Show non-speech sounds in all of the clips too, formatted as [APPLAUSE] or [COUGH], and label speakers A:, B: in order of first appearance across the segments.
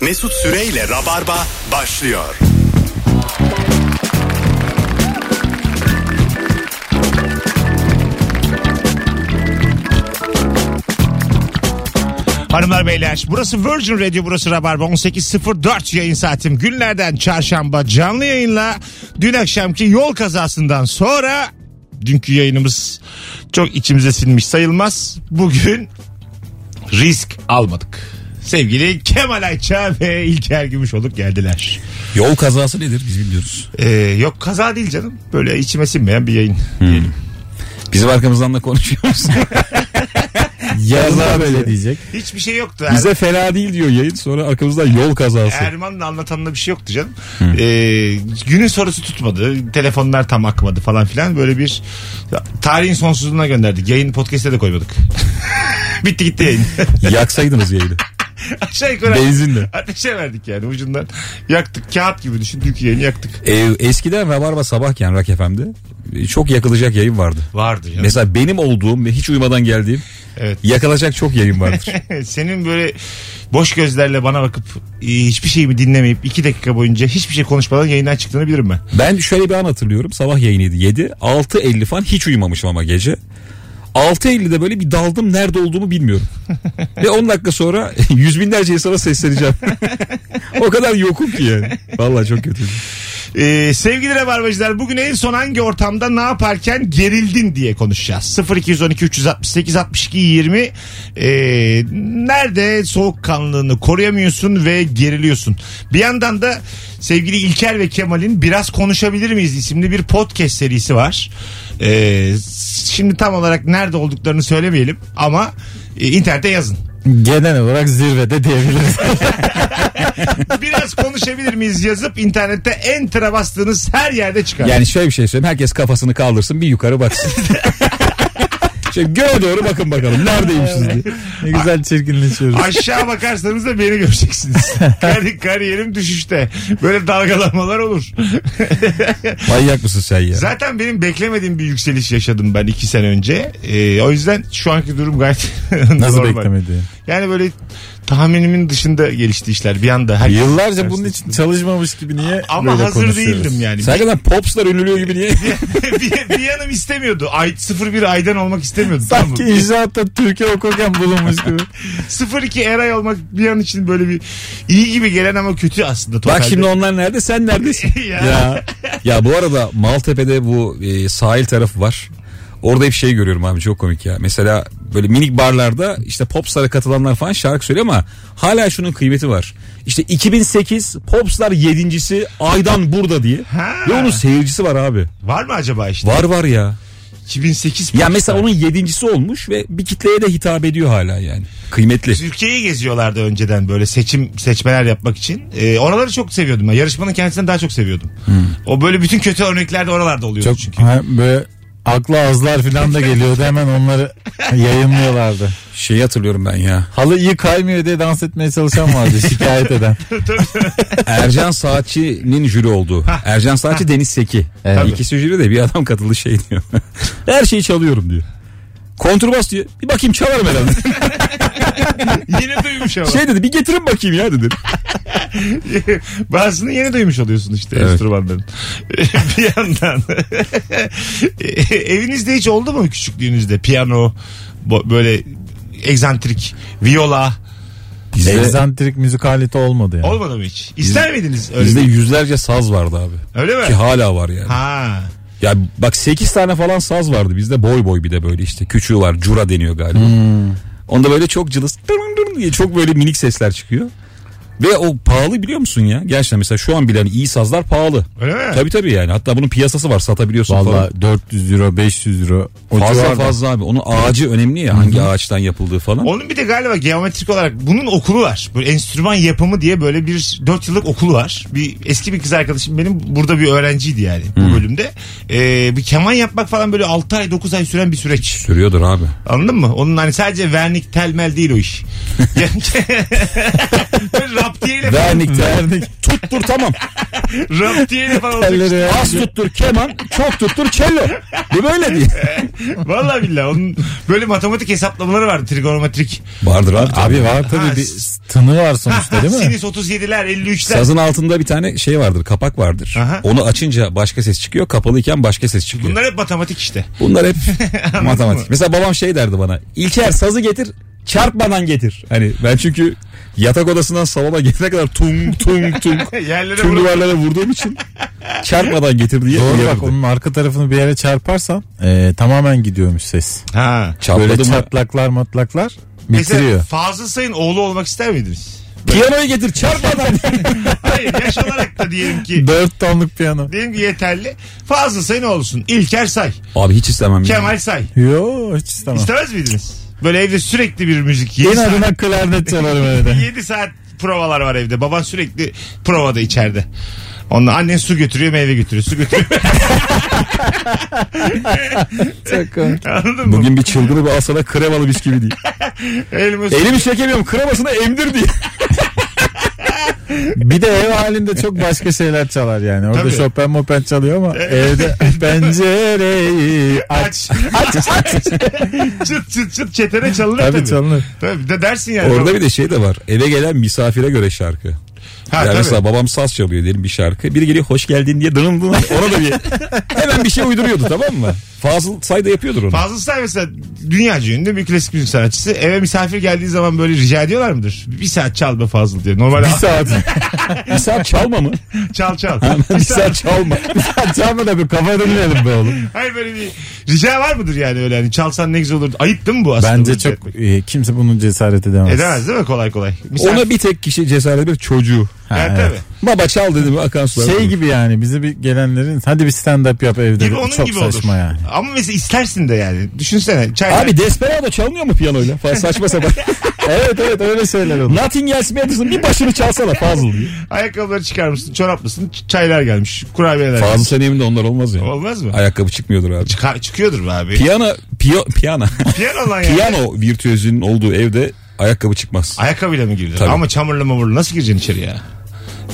A: Mesut Süreyle Rabarba başlıyor.
B: Hanımlar beyler burası Virgin Radio burası Rabarba 18.04 yayın saatim günlerden çarşamba canlı yayınla dün akşamki yol kazasından sonra dünkü yayınımız çok içimize sinmiş sayılmaz bugün risk almadık. Sevgili Kemal Ayça ve İlker Gümüşoluk geldiler.
C: Yol kazası nedir biz bilmiyoruz.
B: Ee, yok kaza değil canım. Böyle içime sinmeyen bir yayın. diyelim.
C: Bizim arkamızdan da konuşuyoruz.
D: Kaza böyle diyecek.
B: Hiçbir şey yoktu.
D: Bize fena değil diyor yayın sonra arkamızdan yol kazası.
B: Erman'la anlatanla bir şey yoktu canım. Ee, günün sorusu tutmadı. Telefonlar tam akmadı falan filan. Böyle bir tarihin sonsuzluğuna gönderdik. Yayın podcast'e de koymadık. [LAUGHS] Bitti gitti yayın.
D: Yaksaydınız yayını.
B: Aşağı yukarı.
D: Benzinle.
B: Ateşe verdik yani ucundan. Yaktık. Kağıt gibi düşün. Dünkü yayını yaktık.
C: Ee, eskiden Rabarba sabahken Rock FM'de e, çok yakılacak yayın vardı.
B: Vardı ya.
C: Mesela benim olduğum ve hiç uyumadan geldiğim
B: Evet.
C: yakılacak çok yayın vardır.
B: [LAUGHS] Senin böyle boş gözlerle bana bakıp e, hiçbir şeyimi dinlemeyip iki dakika boyunca hiçbir şey konuşmadan yayından çıktığını bilirim ben.
C: ben şöyle bir an hatırlıyorum. Sabah yayınıydı 7. 6.50 falan hiç uyumamışım ama gece. 6.50'de böyle bir daldım nerede olduğumu bilmiyorum. ve 10 dakika sonra [LAUGHS] yüz binlerce insana sesleneceğim. [LAUGHS] o kadar yokum ki yani. Vallahi çok kötü.
B: Ee, sevgili Rabarbacılar bugün en son hangi ortamda ne yaparken gerildin diye konuşacağız. 0212 368 62 20 ee, nerede soğukkanlığını koruyamıyorsun ve geriliyorsun. Bir yandan da sevgili İlker ve Kemal'in Biraz Konuşabilir miyiz isimli bir podcast serisi var. Ee, şimdi tam olarak nerede olduklarını söylemeyelim ama e, internete yazın. [LAUGHS]
D: Genel olarak zirvede diyebiliriz.
B: Biraz konuşabilir miyiz yazıp internette enter'a bastığınız her yerde çıkar.
C: [LAUGHS] Yani şöyle bir şey söyleyeyim. Herkes kafasını kaldırsın bir yukarı baksın.
D: [LAUGHS]
C: Şimdi göğe doğru bakın bakalım. Neredeymişiz diye.
D: ne güzel çirkinleşiyoruz.
B: Aşağı bakarsanız da beni
D: [LAUGHS]
B: göreceksiniz. Kari- kariyerim düşüşte. Böyle dalgalanmalar olur. [LAUGHS]
C: Manyak mısın sen ya?
B: Zaten benim beklemediğim bir yükseliş yaşadım ben iki sene önce. Ee, o yüzden şu anki durum gayet [LAUGHS]
D: Nasıl
B: normal.
D: beklemedi?
B: Yani böyle tahminimin dışında gelişti işler bir anda. Herkes-
D: Yıllarca bunun için çalışmamış gibi niye
B: Ama
D: böyle
B: hazır
D: konuşuyoruz?
B: değildim yani.
C: Sen kadar popstar ünlülüyor gibi
B: [LAUGHS]
C: niye?
B: [LAUGHS] bir, bir yanım istemiyordu. Ay 01 aydan olmak istemiyordu. tamam mı? [LAUGHS]
D: Sanki inşaatta Türkiye okurken bulunmuş gibi.
B: 02 eray olmak bir an için böyle bir iyi gibi gelen ama kötü aslında.
C: Bak
B: totalde.
C: şimdi onlar nerede sen neredesin?
B: [LAUGHS] Ya.
C: ya. ya bu arada Maltepe'de bu e, sahil tarafı var. Orada hep şey görüyorum abi çok komik ya. Mesela böyle minik barlarda işte popstar'a katılanlar falan şarkı söylüyor ama hala şunun kıymeti var. İşte 2008 popstar yedincisi Aydan burada diye.
B: Ha.
C: Ve onun seyircisi var abi.
B: Var mı acaba işte?
C: Var var ya.
B: 2008
C: Ya mesela onun yedincisi olmuş ve bir kitleye de hitap ediyor hala yani. Kıymetli.
B: Türkiye'yi geziyorlardı önceden böyle seçim seçmeler yapmak için. Ee, oraları çok seviyordum ben. Yarışmanın kendisinden daha çok seviyordum.
C: Hmm.
B: O böyle bütün kötü örnekler de oralarda oluyordu
D: Çok
B: çünkü. [LAUGHS]
D: ha, böyle aklı azlar falan da geliyordu hemen onları yayınlıyorlardı.
C: Şeyi hatırlıyorum ben [LAUGHS] ya.
D: Halı iyi kaymıyor diye dans etmeye çalışan vardı şikayet eden.
C: Ercan Saatçı'nın jüri olduğu. Ercan Saatçı Deniz Seki.
D: Evet.
C: Tabii. İkisi jüri de bir adam katıldı şey diyor. [LAUGHS] Her şeyi çalıyorum diyor. Kontrbas diyor. Bir bakayım çalarım herhalde.
B: Yeni duymuş ama.
C: [LAUGHS] şey dedi bir getirin bakayım ya dedi.
B: [LAUGHS] Bazısını yeni duymuş oluyorsun işte
C: Evet.
B: enstrümanların. [LAUGHS] bir yandan. [LAUGHS] Ee, Evinizde hiç oldu mu küçüklüğünüzde piyano bo- böyle egzantrik viola
C: Bizde,
D: Egzantrik müzik aleti olmadı yani.
B: olmadı mı hiç? İster miydiniz öyle?
C: bizde
B: bir-
C: yüzlerce saz vardı abi.
B: Öyle mi?
C: Ki hala var yani.
B: Ha.
C: Ya bak 8 tane falan saz vardı bizde boy boy bir de böyle işte küçüğü var cura deniyor galiba.
D: Hmm.
C: Onda böyle çok cılız dırın dırın diye çok böyle minik sesler çıkıyor. Ve o pahalı biliyor musun ya? Gerçekten mesela şu an bilen iyi sazlar pahalı.
B: Öyle mi?
C: Tabii tabii yani. Hatta bunun piyasası var satabiliyorsun
D: Valla
C: falan.
D: 400 euro 500 euro. O
C: Fazla
D: civarda.
C: fazla abi. Onun ağacı önemli ya hangi ağaçtan yapıldığı falan.
B: Onun bir de galiba geometrik olarak bunun okulu var. Böyle enstrüman yapımı diye böyle bir 4 yıllık okulu var. Bir eski bir kız arkadaşım benim burada bir öğrenciydi yani
D: Hmm.
B: bu bölümde. Ee, bir keman yapmak falan böyle 6 ay 9 ay süren bir süreç.
C: Sürüyordur abi.
B: Anladın mı? Onun hani sadece vernik
D: [LAUGHS]
B: telmel değil o iş. Böyle [LAUGHS] Rap diyeyle
C: Vernikte
D: Vernik.
C: tut tuttur tamam.
B: Rap diye de falan olacak.
D: Elleri
C: Az tuttur keman, çok tuttur cello. Bu böyle diye.
B: Vallahi billahi onun böyle matematik hesaplamaları vardı trigonometrik.
C: Vardır abi.
D: Abi var
B: Ha,
D: tabii bir tını var
C: [LAUGHS]
D: sonuçta değil mi?
B: Sinüs 37'ler 53'ler.
C: Sazın altında bir tane şey vardır, kapak vardır.
B: Aha.
C: Onu açınca başka ses çıkıyor, kapalıyken başka ses çıkıyor. Bunlar,
B: Bunlar hep matematik işte.
C: hep [LAUGHS] matematik. Mesela babam şey derdi bana. İlker sazı getir, çarpmadan getir. Hani ben çünkü yatak odasından salona gelene kadar tung
B: [LAUGHS]
C: tung tung
B: Yerlere
C: tüm
B: vurup
C: duvarlara vurduğum için çarpmadan getir diye
D: Doğru bak
C: uyarırdı.
D: onun arka tarafını bir yere çarparsan e, tamamen gidiyormuş ses.
B: Ha.
C: Çarpmadı
D: Böyle
C: mı?
D: çatlaklar matlaklar
B: Mesela
D: bitiriyor.
B: Fazıl Say'ın oğlu olmak ister miydiniz?
C: Piyanoyu getir
D: [LAUGHS]
C: çarpmadan.
B: Hayır yaş olarak da diyelim ki
D: Dört tonluk piyano.
B: diyelim ki yeterli. Fazıl Say'ın olsun. İlker Say.
C: Abi hiç istemem. ya.
B: Kemal Say.
D: Yo hiç istemem.
B: İstemez miydiniz? Böyle evde sürekli bir müzik.
D: En
B: 7 saat,
D: adına klarnet çalarım
C: [LAUGHS]
D: evde.
B: 7 saat provalar var evde. Baban sürekli provada içeride. Onunla annen su götürüyor meyve götürüyor. Su götürüyor. Anladın mı?
C: Bugün bir çılgını bir alsana kremalı
B: [LAUGHS]
C: bisküvi diye.
B: Elime su.
C: Elimi çekemiyorum kremasını emdir diye.
D: bir de ev halinde çok başka şeyler çalar yani. Orada
B: Tabii. E-
D: Chopin Mopin çalıyor
B: [LAUGHS]
D: ama evde pencereyi aç. Aç aç.
B: çıt çıt çıt çetene çalınır tabii.
D: Tabii çalınır. [LAUGHS]
B: Tabii, bir de dersin yani.
C: Orada bir de şey de var. Eve gelen misafire göre şarkı.
B: ha,
C: yani
B: tabii.
C: mesela babam saz çalıyor diyelim bir şarkı. Biri geliyor hoş geldin diye dırın dırın. Ona da bir hemen bir şey uyduruyordu tamam mı? Fazıl Say da yapıyordur onu.
B: Fazıl Say mesela dünyaca ünlü bir klasik müzik sanatçısı. Eve misafir geldiği zaman böyle rica ediyorlar mıdır? Bir saat çal be Fazıl diye. Normal
D: Bir saat.
C: bir saat çalma mı?
B: çal çal.
D: [LAUGHS]
C: bir saat çalma.
D: Çalma da bir kafa dinleyelim be oğlum.
B: Hayır böyle bir rica var mıdır yani öyle hani çalsan ne güzel olur. Ayıp değil mi bu aslında?
D: Bence
B: bunu
D: çok
B: etmek?
D: e, kimse bunun cesaret edemez.
B: Edemez değil mi kolay kolay? Misafir-
C: Ona bir tek kişi cesaret bir çocuğu.
B: Evet,
D: Ha,
B: tabii.
D: evet.
C: Baba çal dedim akan sular.
D: Şey
C: durur.
D: gibi yani bize bir gelenlerin hadi bir stand up yap evde.
B: Gibi onun
D: çok
B: gibi olur.
D: saçma yani.
B: Ama mesela istersin de yani. Düşünsene. Çay
C: Abi Desperado çalınıyor mu piyanoyla? Falan saçma sapan.
D: evet evet öyle şeyler olur.
C: Nothing Else Matters'ın bir başını çalsana Fazıl diye.
B: Ayakkabıları çıkarmışsın, çoraplısın, ç- çaylar gelmiş, kurabiyeler.
C: Fazıl sen evinde onlar olmaz ya.
B: Olmaz mı?
C: Ayakkabı çıkmıyordur abi.
B: Çıkar- çıkıyordur be abi.
C: Piyano, piyo, piyano.
B: Piyano lan yani.
C: piyano virtüözünün olduğu evde ayakkabı çıkmaz.
B: Ayakkabıyla mı girilir?
C: Tabii.
B: Ama çamurlu mamurlu nasıl gireceksin içeri ya?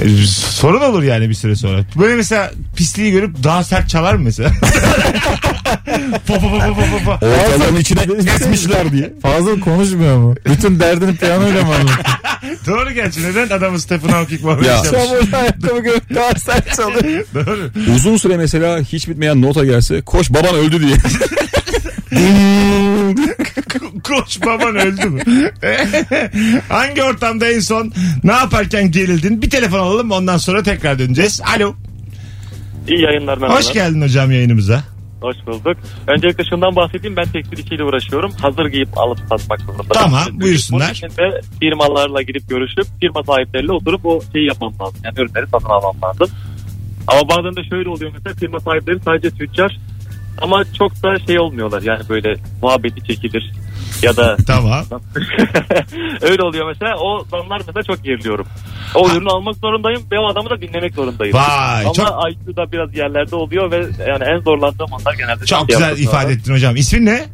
B: E, Sorun olur yani bir süre sonra. Böyle mesela pisliği görüp daha sert çalar mı mesela? [LAUGHS] pa, pa, pa, pa, pa, pa, pa.
C: Ortadan
D: [LAUGHS]
C: içine etmişler diye.
D: Fazıl konuşmuyor mu? Bütün [LAUGHS] derdini piyanoyla mı anlatıyor?
B: Doğru gerçi neden adamı Stephen Hawking muhabbeti
C: [LAUGHS] Ya.
B: yapmış?
D: Çamurlu ayakkabı görüp daha sert çalıyor.
B: Doğru.
C: Uzun süre mesela hiç bitmeyen nota gelse koş baban öldü
D: [LAUGHS]
C: diye.
B: Ko- Koç baban öldü mü? [LAUGHS] Hangi ortamda en son ne yaparken gerildin? Bir telefon alalım ondan sonra tekrar döneceğiz. Alo.
E: İyi yayınlar merhabalar.
B: Hoş geldin hocam yayınımıza.
E: Hoş bulduk. Öncelikle şundan bahsedeyim. Ben tekstil işiyle uğraşıyorum. Hazır giyip alıp satmak zorundayım.
B: Tamam,
E: Bunun
B: buyursunlar.
E: için de firmalarla gidip görüşüp firma sahipleriyle oturup o şeyi yapmam lazım. Yani ürünleri satın almam lazım. Ama bazen de şöyle oluyor mesela firma sahipleri sadece tüccar ama çok da şey olmuyorlar yani böyle muhabbeti çekilir ya da
B: Tamam.
E: [LAUGHS] öyle oluyor mesela o zamlar mesela çok geriliyorum. O ürünü almak zorundayım ve o adamı da dinlemek zorundayım.
B: Vay
E: Ama
B: çok
E: IQ da biraz yerlerde oluyor ve yani en zorlandığım onlar genelde. şey
B: çok güzel ifade ettin hocam. İsmin ne?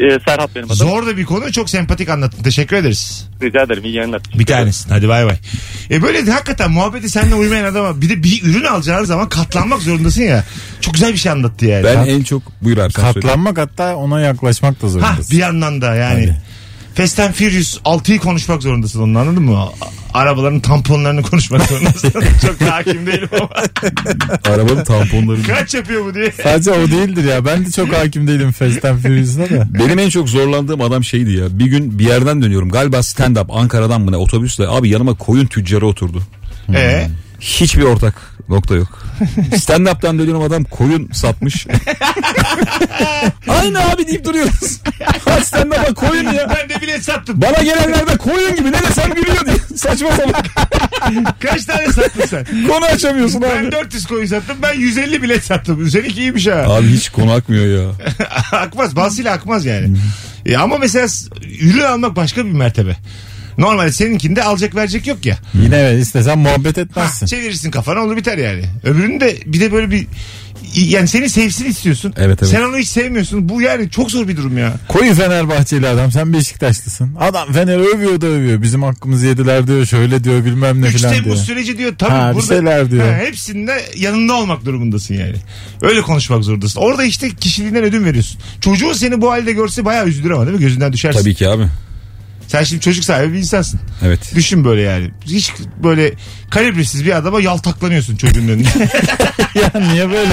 E: Ee, Serhat benim adım.
B: Zor da bir konu çok sempatik anlattın. Teşekkür ederiz.
E: Rica ederim iyi yayınlar.
B: Bir tanesin. Hadi bay bay. E böyle de hakikaten muhabbeti seninle uymayan adama bir de bir ürün alacağın zaman katlanmak zorundasın ya. Çok güzel bir şey anlattı yani.
C: Ben en çok buyur abi sen söyle.
D: Katlanmak hatta ona yaklaşmak da
B: ha
D: zorundasın.
B: bir yandan da yani.
D: Hadi.
B: Fast and Furious 6'yı konuşmak zorundasın onun anladın mı? A- Arabaların tamponlarını konuşmak
C: [LAUGHS]
B: zorundasın. Çok da hakim değilim ama.
C: Arabanın
D: [LAUGHS]
C: tamponları.
B: Kaç yapıyor bu diye.
D: Sadece o değildir ya. Ben de çok hakim değilim Fast and Furious'la da.
C: Benim en çok zorlandığım adam şeydi ya. Bir gün bir yerden dönüyorum. Galiba stand-up Ankara'dan mı ne otobüsle. Abi yanıma koyun tüccarı oturdu.
B: E,
C: Hmm. Hiçbir ortak nokta
D: [LAUGHS]
C: yok. Stand-up'tan dönüyorum adam koyun satmış. Aynı abi deyip duruyoruz. Ha stand-up'a koyun ya.
B: ben de bilet sattım.
C: Bana gelenler de koyun gibi ne desem gülüyor diye. Saçma sapan.
B: Kaç tane sattın
C: [LAUGHS]
B: sen?
C: Konu açamıyorsun
B: Ben
C: abi.
B: 400 koyun sattım. Ben 150 bilet sattım. Üstelik iyiymiş ha.
C: Abi hiç konu akmıyor ya.
B: [LAUGHS]
D: [LAUGHS]
B: akmaz. Bazısıyla akmaz yani. E ama mesela s- ürün almak başka bir mertebe. Normalde seninkinde alacak verecek yok ya.
D: Yine evet istesen muhabbet etmezsin.
B: Çevirirsin kafana olur biter yani. Öbürünü de bir de böyle bir yani seni sevsin istiyorsun.
C: Evet, evet.
B: Sen onu hiç sevmiyorsun. Bu yani çok zor bir durum ya.
D: Koyu Fenerbahçeli adam sen Beşiktaşlısın. Adam Fener övüyor da övüyor. Bizim hakkımızı yediler diyor şöyle diyor bilmem ne
B: 3
D: filan
B: Temmuz
D: diyor.
B: süreci diyor tabii
D: Ha, bir şeyler diyor.
B: hepsinde yanında olmak durumundasın yani. Öyle konuşmak zorundasın. Orada işte kişiliğinden ödün veriyorsun. Çocuğun seni bu halde görse bayağı üzülür ama değil mi? Gözünden düşersin.
C: Tabii ki abi.
B: Sen şimdi çocuk sahibi bir insansın.
C: Evet.
B: Düşün böyle yani. Hiç böyle kalibresiz bir adama yaltaklanıyorsun çocuğun önünde.
C: [LAUGHS]
D: Ya niye böyle?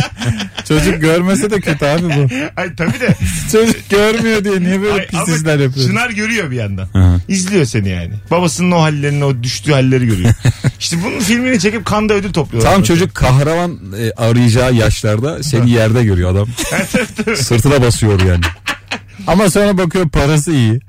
D: Çocuk görmese de kötü abi bu.
B: Ay tabii de.
D: Çocuk görmüyor diye niye böyle
B: Ay,
D: pis
B: ama
D: işler yapıyor?
B: Çınar görüyor bir yandan.
C: hı.
B: İzliyor seni yani. Babasının o hallerini, o düştüğü halleri
C: [LAUGHS]
B: görüyor. işte bunun filmini çekip kanda ödül topluyorlar.
C: Tam çocuk kahraman e, arayacağı yaşlarda seni yerde görüyor
D: [LAUGHS]
C: adam. Sırtına basıyor yani.
D: Ama sonra bakıyor parası iyi.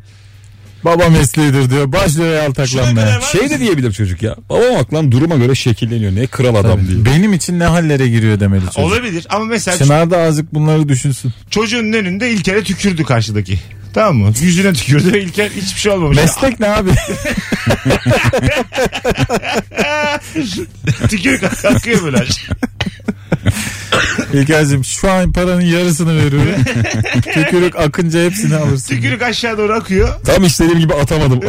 D: Baba mesleğidir diyor. Başlıyor yaltaklanmaya.
B: kadar var
C: Şey de diyebilir çocuk ya. Babam bak lan duruma göre şekilleniyor. Ne kral adam diye.
D: Benim için ne hallere giriyor demeli çocuk.
B: Olabilir ama mesela
D: Çınar da azıcık bunları düşünsün.
B: çocuğun önünde İlker'e tükürdü karşıdaki. Tamam mı? Yüzüne tükürdü ve İlker hiçbir şey olmamış.
D: Meslek ne abi?
B: [LAUGHS] Tükürük kalkıyor böyle.
C: [LAUGHS]
D: İlker'cim şu an paranın yarısını
B: [LAUGHS]
D: veriyorum. Tükürük akınca hepsini alırsın.
B: Tükürük aşağı doğru akıyor.
C: Tam istediğim
B: [LAUGHS]
C: gibi atamadım.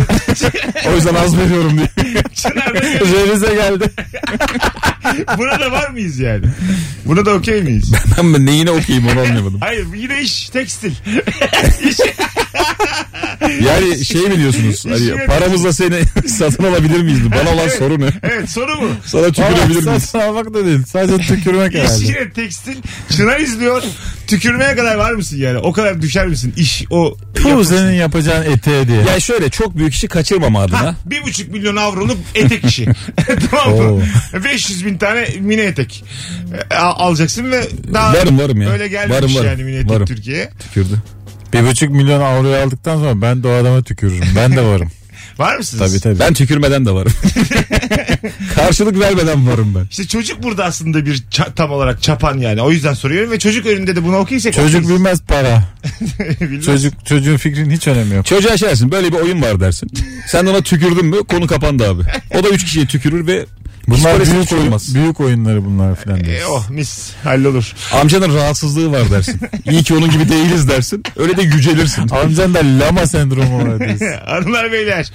C: o yüzden az veriyorum diye.
B: Çınar da diyor,
D: Revize geldi.
B: buna da var mıyız yani? Buna da okey miyiz?
C: Ben neyine okuyayım onu anlamadım.
B: Hayır yine iş tekstil. [LAUGHS]
C: Yani şey mi diyorsunuz? Hani paramızla seni [LAUGHS] satın alabilir miyiz? Bana olan soru ne?
B: Evet soru bu.
C: Sana tükürebilir
D: Ama
C: miyiz?
D: saçma almak da değil. Sadece tükürmek herhalde.
B: İşine tekstil. Çınar izliyor. Tükürmeye kadar var mısın yani? O kadar düşer misin? İş o.
D: Bu senin yapacağın eteğe diye.
C: Ya şöyle çok büyük işi kaçırmama adına.
B: Bir buçuk milyon avroluk etek
C: [LAUGHS]
B: işi. [LAUGHS] tamam mı? 500 bin tane mini etek e, al- alacaksın ve daha
C: Varım, varım ya.
B: öyle gelmiş
C: Varım, varım.
B: yani mini etek
C: Varım.
B: Türkiye'ye.
C: Tükürdü.
D: Bir buçuk milyon avroyu aldıktan sonra ben de o adama tükürürüm. Ben de varım.
B: Var mısınız?
D: tabii tabii.
C: Ben tükürmeden de
D: [LAUGHS]
C: varım. Karşılık vermeden varım ben.
B: İşte çocuk burada aslında bir ça- tam olarak çapan yani. O yüzden soruyorum ve çocuk önünde de bunu okuysak.
D: Çocuk bilmez para.
B: [LAUGHS] Bilmez.
D: Çocuk çocuğun fikrinin hiç önemi yok.
C: Çocuğa şey dersin böyle bir oyun var dersin. Sen de ona tükürdün mü konu kapandı abi. O da üç kişiye tükürür ve
D: Bunlar
C: psikolojisi
D: büyük,
C: hiç olmaz.
D: oyun, büyük oyunları bunlar filan
B: E,
D: diyorsun.
B: oh mis hallolur.
C: Amcanın rahatsızlığı
B: [LAUGHS]
C: var dersin. İyi ki onun gibi değiliz dersin. Öyle de
D: [LAUGHS]
C: yücelirsin.
D: Amcan da lama sendromu var diyorsun.
B: [LAUGHS] Hanımlar beyler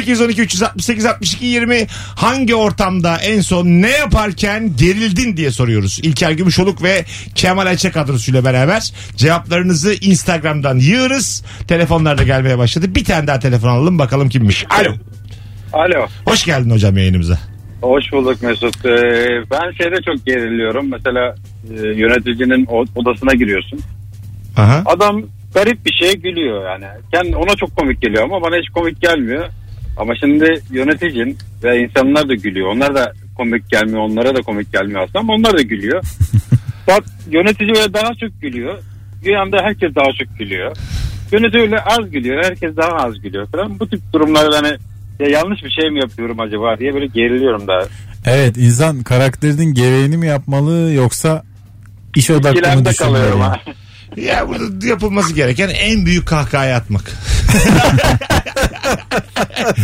B: 0212 368 62 20 hangi ortamda en son ne yaparken gerildin diye soruyoruz. İlker Gümüşoluk ve Kemal Ayça kadrosuyla beraber cevaplarınızı Instagram'dan yığırız. Telefonlar da gelmeye başladı. Bir tane daha telefon alalım bakalım kimmiş. Alo.
F: Alo.
B: Hoş geldin hocam yayınımıza.
F: Hoş bulduk Mesut. Ee, ben şeyde çok geriliyorum. Mesela e, yöneticinin o- odasına giriyorsun.
B: Aha.
F: Adam garip bir şeye gülüyor yani. Kendi, ona çok komik geliyor ama bana hiç komik gelmiyor. Ama şimdi yöneticin ve insanlar da gülüyor. Onlar da komik gelmiyor. Onlara da komik gelmiyor aslında ama onlar da gülüyor. Bak yönetici böyle daha çok gülüyor. Güyanda herkes daha çok gülüyor. Yönetici öyle az gülüyor. Herkes daha az gülüyor falan. Bu tip durumlarda hani ya yanlış bir şey mi yapıyorum acaba diye böyle geriliyorum daha.
D: Evet insan karakterinin gereğini mi yapmalı yoksa iş odaklı mı
F: İkilemde
D: düşünmeli?
F: kalıyorum ha. [LAUGHS]
B: Ya burada yapılması gereken en büyük kahkahayı atmak.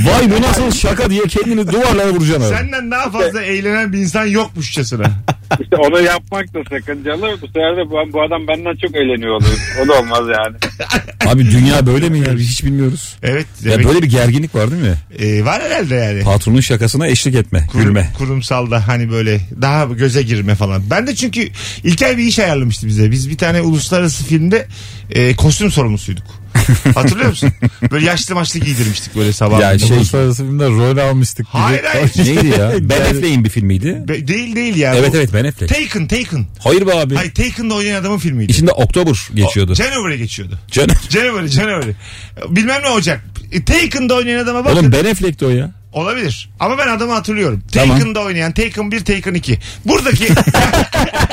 C: Vay bu nasıl şaka diye kendini duvarlara vuracaksın abi.
B: Senden daha fazla eğlenen bir insan
C: [LAUGHS]
B: yokmuşçasına.
F: İşte onu yapmak da sakıncalı. Bu sefer de bu, bu adam benden çok eğleniyor oluyor. O da olmaz yani.
C: Abi dünya böyle mi ya Biz hiç bilmiyoruz.
B: Evet.
C: Ya
B: demek-
C: böyle bir gerginlik var değil mi?
B: e, var herhalde yani.
C: Patronun şakasına eşlik etme,
B: Kurum- [LAUGHS]
C: gülme.
B: Kurumsalda hani böyle daha göze girme falan. Ben de çünkü İlker bir iş ayarlamıştı bize. Biz bir tane uluslararası filmde e, kostüm
C: [LAUGHS]
B: sorumlusuyduk. Hatırlıyor musun? Böyle yaşlı maçlı giydirmiştik böyle sabah.
C: Ya şey-
D: Uluslararası filmde rol almıştık. gibi.
B: Hayır, hayır.
D: [LAUGHS]
C: Neydi ya? [LAUGHS] Ben
D: Yani-
C: Affleck'in bir filmiydi.
B: Be- değil değil ya.
C: Evet
B: Bu-
C: evet Ben Affleck.
B: Taken Taken.
C: Hayır be abi.
B: Hayır Taken'da oynayan adamın filmiydi.
C: İçinde Oktober geçiyordu.
B: January geçiyordu.
C: Canım.
B: January January. Bilmem ne olacak. E, Taken'da oynayan adama bakın.
C: Oğlum Ben Affleck'ti o ya.
B: Olabilir. Ama ben adamı hatırlıyorum.
C: Tamam.
B: Taken'da oynayan Taken 1, Taken 2.
C: [LAUGHS]
B: Buradaki [LAUGHS]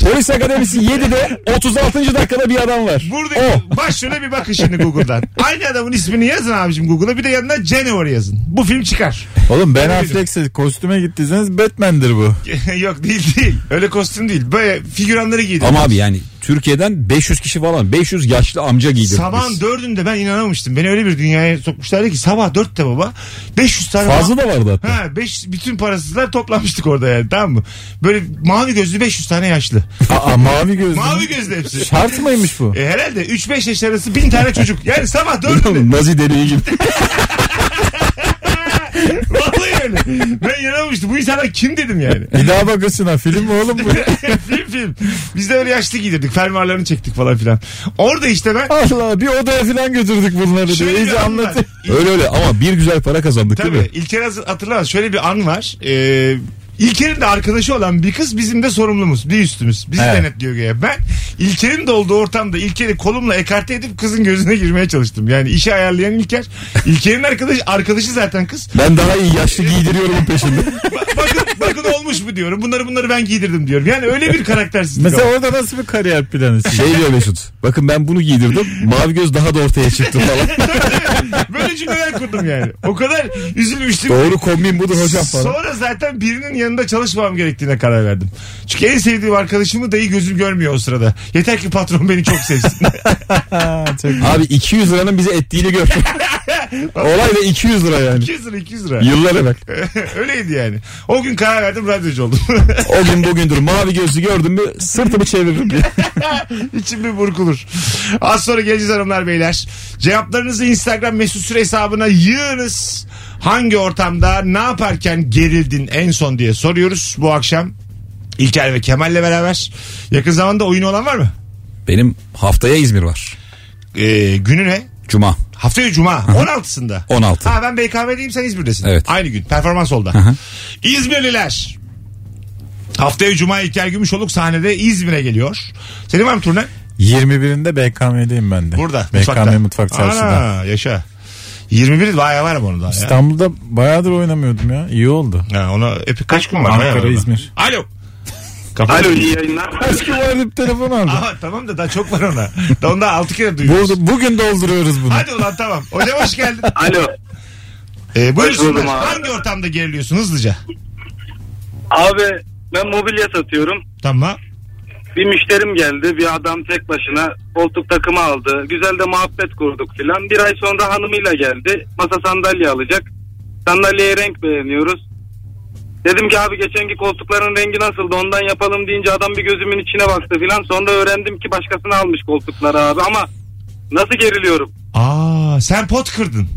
C: Polis Akademisi 7'de 36. dakikada bir adam var.
B: Buradaki başrole bir bakın şimdi Google'dan. Aynı adamın ismini yazın abicim Google'a bir de yanına January yazın. Bu film çıkar. [LAUGHS]
D: Oğlum Ben Affleck'se kostüme gittiyseniz Batman'dir bu.
B: Yok değil değil. Öyle kostüm değil. Böyle figüranları giydim.
C: Ama abi yani Türkiye'den 500 kişi falan 500 yaşlı amca giydirdik
B: Sabahın
C: biz.
B: dördünde ben inanamamıştım. Beni öyle bir dünyaya sokmuşlardı ki sabah dörtte baba 500 tane
C: Fazla da vardı hatta.
B: Ha, beş, bütün parasızlar toplamıştık orada yani tamam mı? Böyle mavi gözlü 500 tane yaşlı.
D: Aa, mavi gözlü.
B: mavi gözlü hepsi.
D: Şart
B: [LAUGHS]
D: mıymış bu?
B: E, herhalde 3-5 yaş arası 1000 tane çocuk. Yani sabah 4'ünde.
C: Nazi deliği gibi.
B: [LAUGHS] Vallahi öyle. Ben inanamamıştım. Bu insanlar kim dedim yani.
D: Bir daha bakasın ha film mi oğlum bu?
B: [LAUGHS] film film. Biz de öyle yaşlı giydirdik. Fermuarlarını çektik falan filan. Orada işte ben
D: Allah bir odaya falan götürdük bunları diyor.
B: Şöyle bir
D: İyice
B: anım var.
D: anlatayım.
C: öyle öyle ama bir güzel para kazandık değil mi?
B: Tabii. İlker hazır- hatırlamaz. Şöyle bir an var. Ee, İlker'in de arkadaşı olan bir kız bizim de sorumlumuz. Bir üstümüz. Bizi
D: Evet.
B: denetliyor güya. Ben İlker'in de olduğu ortamda İlker'i kolumla ekarte edip kızın gözüne girmeye çalıştım. Yani işi ayarlayan İlker. İlker'in arkadaşı, arkadaşı zaten kız.
C: Ben daha iyi yaşlı giydiriyorum peşinde.
B: Ba- bakın, bakın olmuş mu diyorum. Bunları bunları ben giydirdim diyorum. Yani öyle bir karaktersizlik.
D: Mesela
B: var.
D: orada nasıl bir kariyer planı? [LAUGHS] çizdin?
C: Şey diyor Mesut. Bakın ben bunu giydirdim. Mavi göz daha da ortaya çıktı falan.
B: Böyle cümleler kurdum yani. O kadar üzülmüştüm.
C: Doğru kombin budur hocam falan.
B: Sonra zaten birinin yanında çalışmam gerektiğine karar verdim. Çünkü en sevdiğim arkadaşımı dahi gözüm görmüyor o sırada. Yeter ki patron beni çok sevsin. [LAUGHS]
D: Ha, çok iyi.
C: Abi 200 liranın bize ettiğini gör. Olay da 200 lira yani.
B: 200 lira 200 lira.
C: Yıllar evvel.
B: [LAUGHS] Öyleydi yani. O gün karar verdim radyocu oldum. [LAUGHS]
C: O gün bugündür mavi gözlü gördüm mü sırtımı çeviririm diye.
B: İçim bir burkulur. Az sonra geleceğiz hanımlar beyler. Cevaplarınızı Instagram mesut süre hesabına yığınız. Hangi ortamda ne yaparken gerildin en son diye soruyoruz bu akşam. İlker ve Kemal'le beraber. Yakın zamanda oyun olan var mı?
C: Benim haftaya İzmir var.
B: Ee, günü ne?
C: Cuma.
B: Haftaya cuma 16'sında.
C: 16.
B: Ha ben BKM'deyim sen İzmir'desin.
C: Evet.
B: Aynı gün performans oldu. İzmirliler. Haftaya cuma İlker Gümüşoluk sahnede İzmir'e geliyor. Senin var mı turne?
D: 21'inde BKM'deyim ben de.
B: Burada.
D: BKM Mutfak Çarşı'da.
B: Ana, yaşa. 21 bayağı varım onun daha ya.
D: İstanbul'da bayağıdır oynamıyordum ya. İyi oldu.
B: Ha, ona epey kaç gün var?
D: Ankara,
B: Bayağı var.
D: İzmir.
B: Alo.
F: Alo iyi yayınlar.
D: Eski varlık telefon aldı.
B: Aha, tamam da daha çok var ona. Da onda 6 kere duyuyoruz.
D: Burada, bugün dolduruyoruz bunu.
B: Hadi ulan tamam. Hocam hoş geldin.
F: Alo.
B: Ee, buyursunlar.
F: buldum abi.
B: Hangi ortamda geriliyorsun hızlıca?
F: Abi ben mobilya satıyorum.
B: Tamam.
F: Bir müşterim geldi. Bir adam tek başına koltuk takımı aldı. Güzel de muhabbet kurduk filan. Bir ay sonra hanımıyla geldi. Masa sandalye alacak. Sandalyeye renk beğeniyoruz. Dedim ki abi geçenki koltukların rengi nasıldı ondan yapalım deyince adam bir gözümün içine baktı filan. Sonra öğrendim ki başkasını
B: [LAUGHS]
F: almış koltukları abi ama nasıl geriliyorum.
B: Aa sen pot kırdın.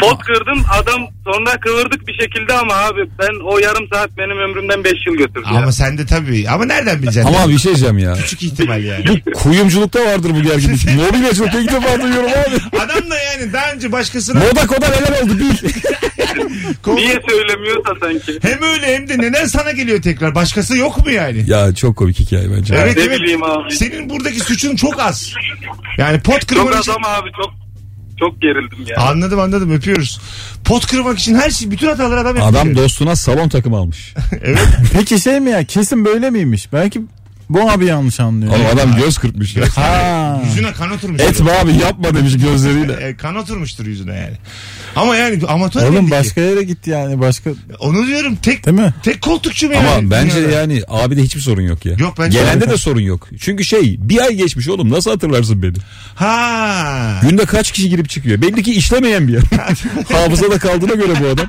F: Pot kırdım adam sonra kıvırdık bir şekilde ama abi ben o yarım saat benim ömrümden 5 yıl götürdü. ya.
B: Ama sen de tabii. Ama nereden bileceksin?
C: Ama bir şey diyeceğim
B: [LAUGHS]
C: ya.
B: Küçük ihtimal yani.
C: Bu kuyumculukta vardır bu gerginlik. Mobilya çok ilk defa duyuyorum abi.
B: Adam da yani daha önce başkasına
C: Moda koda neler oldu bil.
B: kol-
F: Niye söylemiyorsa sanki.
B: hem öyle hem de neden sana geliyor tekrar? Başkası yok mu yani?
C: Ya çok komik hikaye bence.
B: Evet,
F: Ne
B: evet.
F: bileyim abi.
B: Senin buradaki suçun çok az. Yani pot
F: Çok
B: kırmak
F: az
B: için...
F: ama abi çok çok gerildim ya.
B: Anladım anladım öpüyoruz. Pot kırmak için her şey bütün hataları adam yapıyor.
C: Adam dostuna salon takımı almış.
B: [LAUGHS] Evet.
D: Peki şey mi ya kesin böyle miymiş? Belki bu abi yanlış anlıyor.
C: Oğlum adam göz kırpmış ya.
D: Ha.
B: Yüzüne kan oturmuş.
C: Etme abi yapma demiş gözleriyle.
B: E, kan oturmuştur yüzüne yani. Ama yani bir amatör
D: Oğlum
B: miydi ki?
D: başka yere gitti yani başka
B: Onu diyorum tek
D: değil mi?
B: tek koltukçu mu yani?
C: Ama bence
B: dünyada?
C: yani abi de hiçbir sorun yok ya.
B: Yok, bence
C: Gelende de sorun yok. Çünkü şey bir ay geçmiş oğlum nasıl hatırlarsın beni?
B: Ha.
C: Günde kaç kişi girip çıkıyor? Belli ki işlemeyen
B: [LAUGHS]
C: bir yer. Hafızada kaldığına göre bu adam.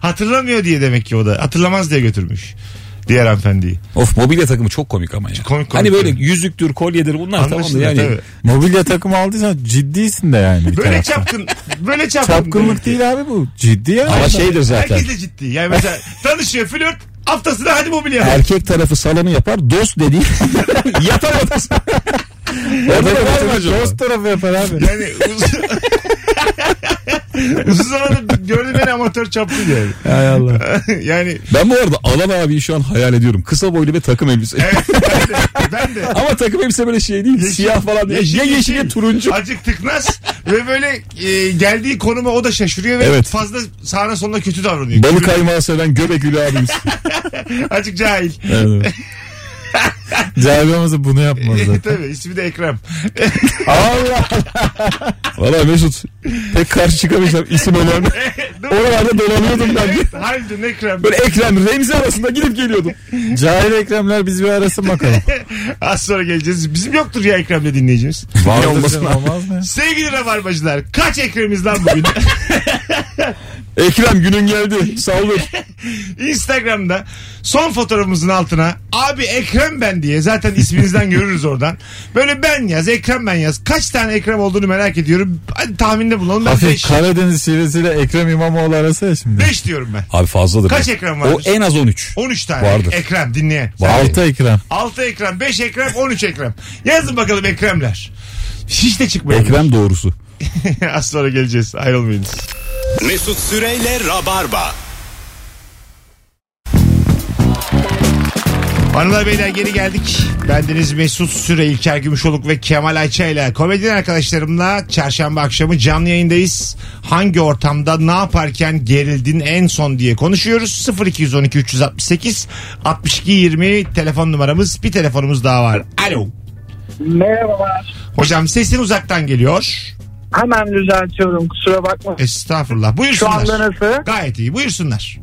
B: Hatırlamıyor diye demek ki o da. Hatırlamaz diye götürmüş. Diğer hanımefendiyi.
C: Of mobilya takımı çok komik ama ya.
B: komik, komik.
C: hani böyle yüzüktür, kolyedir bunlar
B: Anlaşıldı
C: tamam da yani.
B: tabii.
D: Mobilya takımı aldıysan ciddisin de yani bir
B: Böyle
D: taraftan.
B: çapkın. Böyle çapkın.
D: Çapkınlık değil abi bu. Ciddi ya.
C: Ama şeydir zaten.
B: Herkes de ciddi. Yani
C: [LAUGHS]
B: mesela tanışıyor flört. Haftasına hadi mobilya.
C: Erkek tarafı salonu yapar, dost dediği [LAUGHS] yatar odası. Orada ne var mı acaba?
D: Dost tarafı yapar abi.
B: Yani uzun... [LAUGHS] uzun zamandır gördüm beni amatör çapkın yani. [LAUGHS]
D: Hay [LAUGHS] Allah.
B: yani
C: Ben bu arada Alan abiyi şu an hayal ediyorum. Kısa boylu ve takım elbise.
B: evet, ben de, ben de
C: Ama takım elbise böyle şey değil. siyah falan değil. ya yeşil ya turuncu.
B: Acık tıknaz ve böyle e, geldiği konuma o da şaşırıyor ve
C: Evet.
B: fazla sağına sonuna kötü davranıyor.
C: Balık [LAUGHS] kaymağı seven göbekli abimiz.
B: Acık cahil.
C: Evet.
D: Cevabımızı bunu
B: [LAUGHS]
D: yapmaz
B: E,
D: zaten.
B: Tabii ismi de Ekrem. [LAUGHS]
D: Allah
C: Valla Mesut pek karşı çıkamayacağım isim önemli. Oralarda dolanıyordum ben.
B: Evet, harbiden Ekrem.
C: Böyle Ekrem Remzi arasında gidip geliyordum.
D: Cahil Ekremler biz bir
B: [LAUGHS]
D: arasın bakalım.
B: Az sonra geleceğiz. Bizim yoktur ya Ekrem'le dinleyeceğiz.
C: Var olmasın
D: Olmasın
B: [LAUGHS]
D: olmaz mı?
B: Sevgili Rabarbacılar kaç Ekrem'iz lan
C: [LAUGHS]
B: bugün?
C: Ekrem günün geldi. Saldır.
B: Instagram'da son fotoğrafımızın altına abi Ekrem ben diye zaten isminizden görürüz oradan. Böyle ben yaz Ekrem ben yaz. Kaç tane Ekrem olduğunu merak ediyorum. Hadi tahminde bulunalım. Ben
D: Hafif
B: 5
D: Karadeniz şivesiyle Ekrem İmamoğlu arası ya şimdi.
B: 5 diyorum ben.
C: Abi fazladır.
B: Kaç
C: be.
B: Ekrem
C: O
B: vardır?
C: en az 13.
B: 13 tane
C: Vardır.
B: Ekrem dinleyen.
C: Vallahi.
D: Altı Ekrem.
B: 6 Ekrem 5 Ekrem 13 Ekrem. Yazın bakalım Ekremler. Hiç de çıkmıyor.
C: Ekrem doğrusu.
B: [LAUGHS] Az sonra geleceğiz ayrılmayınız.
A: Mesut Süreyle Rabarba.
B: Hanımlar beyler geri geldik. Bendeniz Mesut Süre, İlker Gümüşoluk ve Kemal Ayça ile komedyen arkadaşlarımla çarşamba akşamı canlı yayındayız. Hangi ortamda ne yaparken gerildin en son diye konuşuyoruz. 0212 368 62 20 telefon numaramız. Bir telefonumuz daha var. Alo.
G: Merhabalar.
B: Hocam sesin uzaktan geliyor.
G: Hemen düzeltiyorum kusura bakma.
B: Estağfurullah.
G: Şu
B: Buyursunlar.
G: anda nasıl?
B: Gayet iyi. Buyursunlar.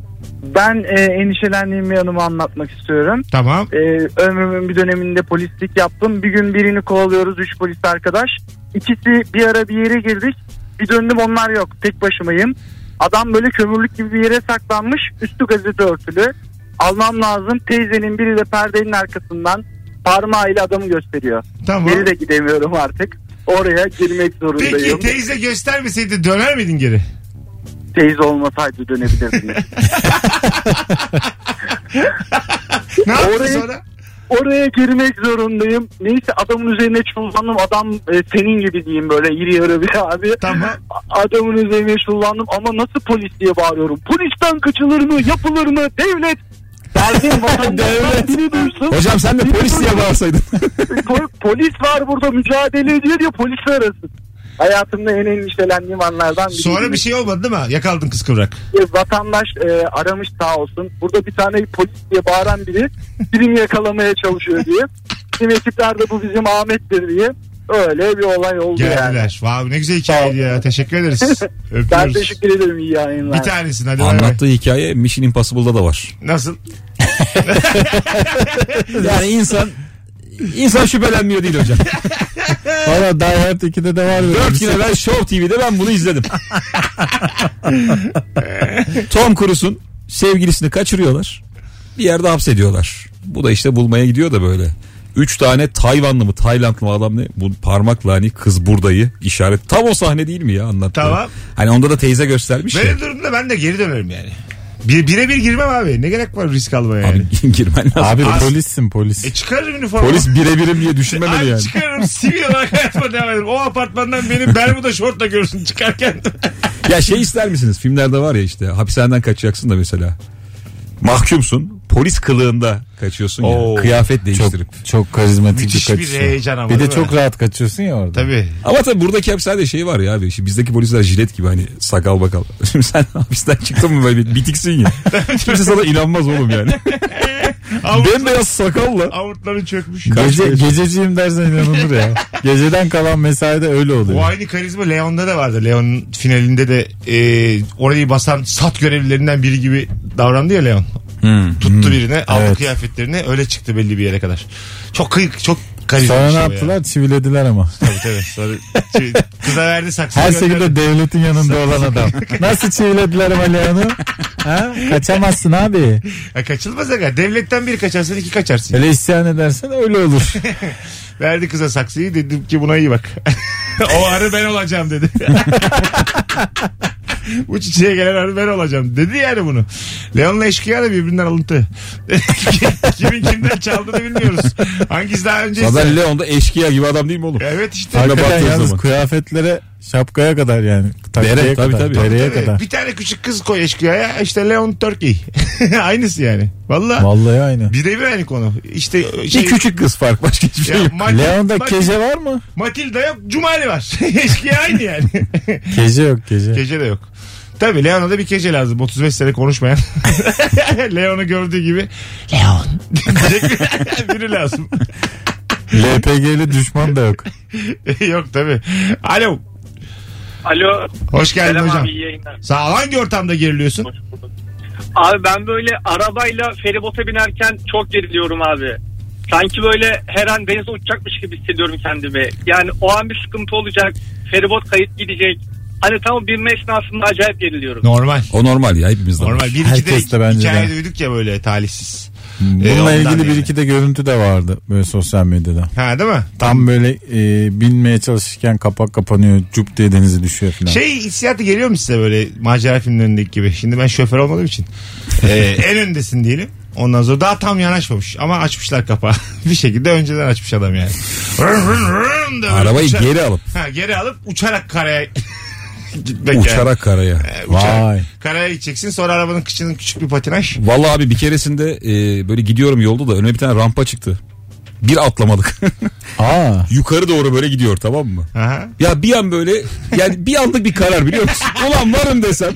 G: Ben e, endişelendiğim bir anımı anlatmak istiyorum.
B: Tamam.
G: E, ömrümün bir döneminde polislik yaptım. Bir gün birini kovalıyoruz üç polis arkadaş. İkisi bir ara bir yere girdik. Bir döndüm onlar yok. Tek başımayım. Adam böyle kömürlük gibi bir yere saklanmış. Üstü gazete örtülü. Almam lazım. Teyzenin biri de perdenin arkasından parmağıyla adamı gösteriyor.
B: Tamam.
G: Geri de gidemiyorum artık. Oraya girmek zorundayım.
B: Peki teyze göstermeseydi döner miydin geri?
G: Teyze
B: [LAUGHS]
G: olmasaydı dönebilirdiniz.
B: Ne yaptın
G: Orayı-
B: sonra?
G: Oraya girmek zorundayım. Neyse adamın üzerine çullandım. Adam e, senin gibi diyeyim böyle iri yarı bir abi.
B: Tamam.
G: A- Adamın üzerine çullandım ama nasıl polis diye bağırıyorum. Polisten kaçılır mı? Yapılır mı? Devlet!
B: [LAUGHS]
G: Derdim vatandaşlar biri duysun.
C: Hocam sen de polis diye bağırsaydın.
G: Po- polis var burada mücadele ediyor diye polisi arasın. Hayatımda en endişelendiğim anlardan biri.
B: Sonra bir şey olmadı değil mi? Yakaldın kız kıvrak.
G: Vatandaş e, aramış sağ olsun. Burada bir tane polis diye bağıran biri birini yakalamaya çalışıyor diye. Bizim ekiplerde bu bizim Ahmet'tir diye. Öyle bir olay oldu yani.
B: Geldiler. Vay ne güzel hikayeydi ya. Teşekkür ederiz. Öpüyoruz.
G: Ben teşekkür ederim iyi yayınlar.
B: Bir tanesin hadi bay bay.
C: Anlattığı hikaye Mission Impossible'da da var.
B: Nasıl?
C: Yani insan insan şüphelenmiyor değil hocam.
D: [LAUGHS] Valla Die Hard 2'de de var. böyle.
C: 4 yıl evvel Show TV'de ben
B: [LAUGHS]
C: bunu izledim. Tom Cruise'un sevgilisini kaçırıyorlar. Bir yerde hapsediyorlar. Bu da işte bulmaya gidiyor da böyle. Üç tane Tayvanlı mı Taylandlı mı adam ne? Bu parmakla hani kız buradayı işaret. Tam o sahne değil mi ya anlattı.
B: Tamam.
C: Hani onda da teyze göstermiş ya.
B: Böyle durumda ben de geri dönerim yani. Bir, bire bir girmem abi. Ne gerek var risk almaya yani.
C: Abi [LAUGHS] girmen lazım.
D: Abi
B: As-
D: polissin polis.
B: E çıkarırım üniforma.
D: Polis birebirim diye düşünmemeli
B: Abi
D: yani.
B: çıkarırım sivil olarak hayatıma devam ederim. O apartmandan beni Bermuda şortla görsün çıkarken.
C: Ya şey ister misiniz? Filmlerde var ya işte hapishaneden kaçacaksın da mesela. Mahkumsun. Polis kılığında kaçıyorsun
D: Oo.
C: ya. Kıyafet değiştirip.
D: Çok, çok karizmatik bir
B: E, Müthiş bir
D: kaçış.
B: heyecan ama
D: Bir de
B: değil mi?
D: çok rahat kaçıyorsun ya orada.
B: Tabii.
C: Ama tabii buradaki hapishanede şey var ya abi. Şimdi bizdeki polisler jilet gibi hani sakal bakal. [LAUGHS] Şimdi sen hapisten çıktın mı böyle bir bitiksin ya. Kimse sana inanmaz oğlum yani.
D: [LAUGHS]
B: Avut,
C: Bembeyaz sakalla.
B: avutların çökmüş.
D: Gece, gececiyim dersen inanılır ya. Geceden kalan mesaide öyle oluyor.
B: O aynı karizma Leon'da da vardı. Leon'un finalinde de e, orayı basan sat görevlilerinden biri gibi davrandı ya Leon. Tuttu birine aldı
D: Hmm, Evet.
B: kıyafetlerini öyle çıktı belli bir yere kadar. Çok kıyık çok karizma. şey
D: Sonra ne yaptılar? Çivilediler ama.
B: Tabii tabii. Sonra şey, kıza verdi saksıyı.
D: Her
B: gönderdi.
D: şekilde devletin yanında olan
C: [LAUGHS]
D: adam. Nasıl çivilediler ama Leon'u? Ha? Kaçamazsın abi.
B: Ya kaçılmaz aga. Devletten bir kaçarsın iki kaçarsın.
D: Hele isyan edersen öyle olur.
B: Verdi kıza saksıyı dedim ki buna iyi bak. [LAUGHS] o arı ben olacağım dedi. [LAUGHS] Bu çiçeğe gelen arı ben olacağım. Dedi yani bunu. Leon'la eşkıya da birbirinden alıntı. [LAUGHS] Kimin kimden çaldığını bilmiyoruz. Hangisi daha önce
C: Zaten Leon'da eşkıya gibi adam değil mi oğlum?
B: Evet işte.
C: Hala
D: Hakikaten
C: baktığın
D: yalnız
C: zaman.
D: kıyafetlere şapkaya kadar yani. Takıya
C: Bere,
D: kadar,
C: tabii, tabii.
D: bereye
B: Tabii,
D: kadar.
B: bir tane küçük kız koy eşkıyaya işte Leon Turkey. [LAUGHS] Aynısı yani. Valla
D: [LAUGHS] Vallahi aynı.
B: birebir aynı konu. İşte şey,
C: Bir küçük kız fark başka hiçbir şey
B: ya
C: yok.
B: Mat-
D: Leon'da
B: Mat-
D: keje var mı?
B: [LAUGHS] Matilda yok Cumali var. eşkıya aynı yani. [LAUGHS]
D: Keje yok keje.
B: Gece de yok. Tabii Leon'a da bir gece lazım. 35 sene konuşmayan. [LAUGHS] Leon'u gördüğü gibi Leon [LAUGHS] diyecek biri lazım. [LAUGHS]
D: LPG'li düşman da yok.
B: Yok tabii. Alo.
E: Alo.
B: Hoş geldin
E: Selam
B: hocam.
E: abi iyi yayınlar.
B: Sağ ol. Hangi ortamda geriliyorsun?
E: Abi ben böyle arabayla feribota binerken çok geriliyorum abi. Sanki böyle her an denize uçacakmış gibi hissediyorum kendimi. Yani o an bir sıkıntı olacak. Feribot kayıp gidecek. Hani tam o binme esnasında acayip geriliyorum.
B: Normal.
C: O normal ya hepimizde
B: Normal.
C: var.
B: Bir iki de
D: Herkes de bence
B: hikaye
D: de.
B: duyduk ya böyle talihsiz. Ee,
D: Bununla
B: ondan
D: ilgili bir
B: yani.
D: iki de görüntü de vardı böyle sosyal medyada.
B: Ha değil mi?
D: Tam böyle e, binmeye çalışırken kapak kapanıyor cup diye denize düşüyor falan.
B: Şey hissiyatı geliyor mu size böyle macera filmlerindeki gibi? Şimdi ben şoför olmadığım için. Ee, en öndesin diyelim. Ondan sonra daha tam yanaşmamış ama açmışlar kapağı. [LAUGHS] bir şekilde önceden açmış adam yani. Rın rın rın da böyle
C: Arabayı
B: uçar-
C: geri alıp
B: Ha, geri alıp uçarak karaya [LAUGHS] gitmek yani.
C: uçarak karaya.
B: Uçarak.
D: Vay.
B: Karaya gideceksin sonra arabanın kıçının küçük bir patinaj.
C: Vallahi abi bir keresinde e, böyle gidiyorum yolda da önüme bir tane rampa çıktı. Bir atlamadık. [LAUGHS]
D: Aa.
C: Yukarı doğru böyle gidiyor tamam mı?
B: Aha.
C: Ya bir an böyle yani bir anlık bir karar biliyor musun? [LAUGHS] Ulan varım desem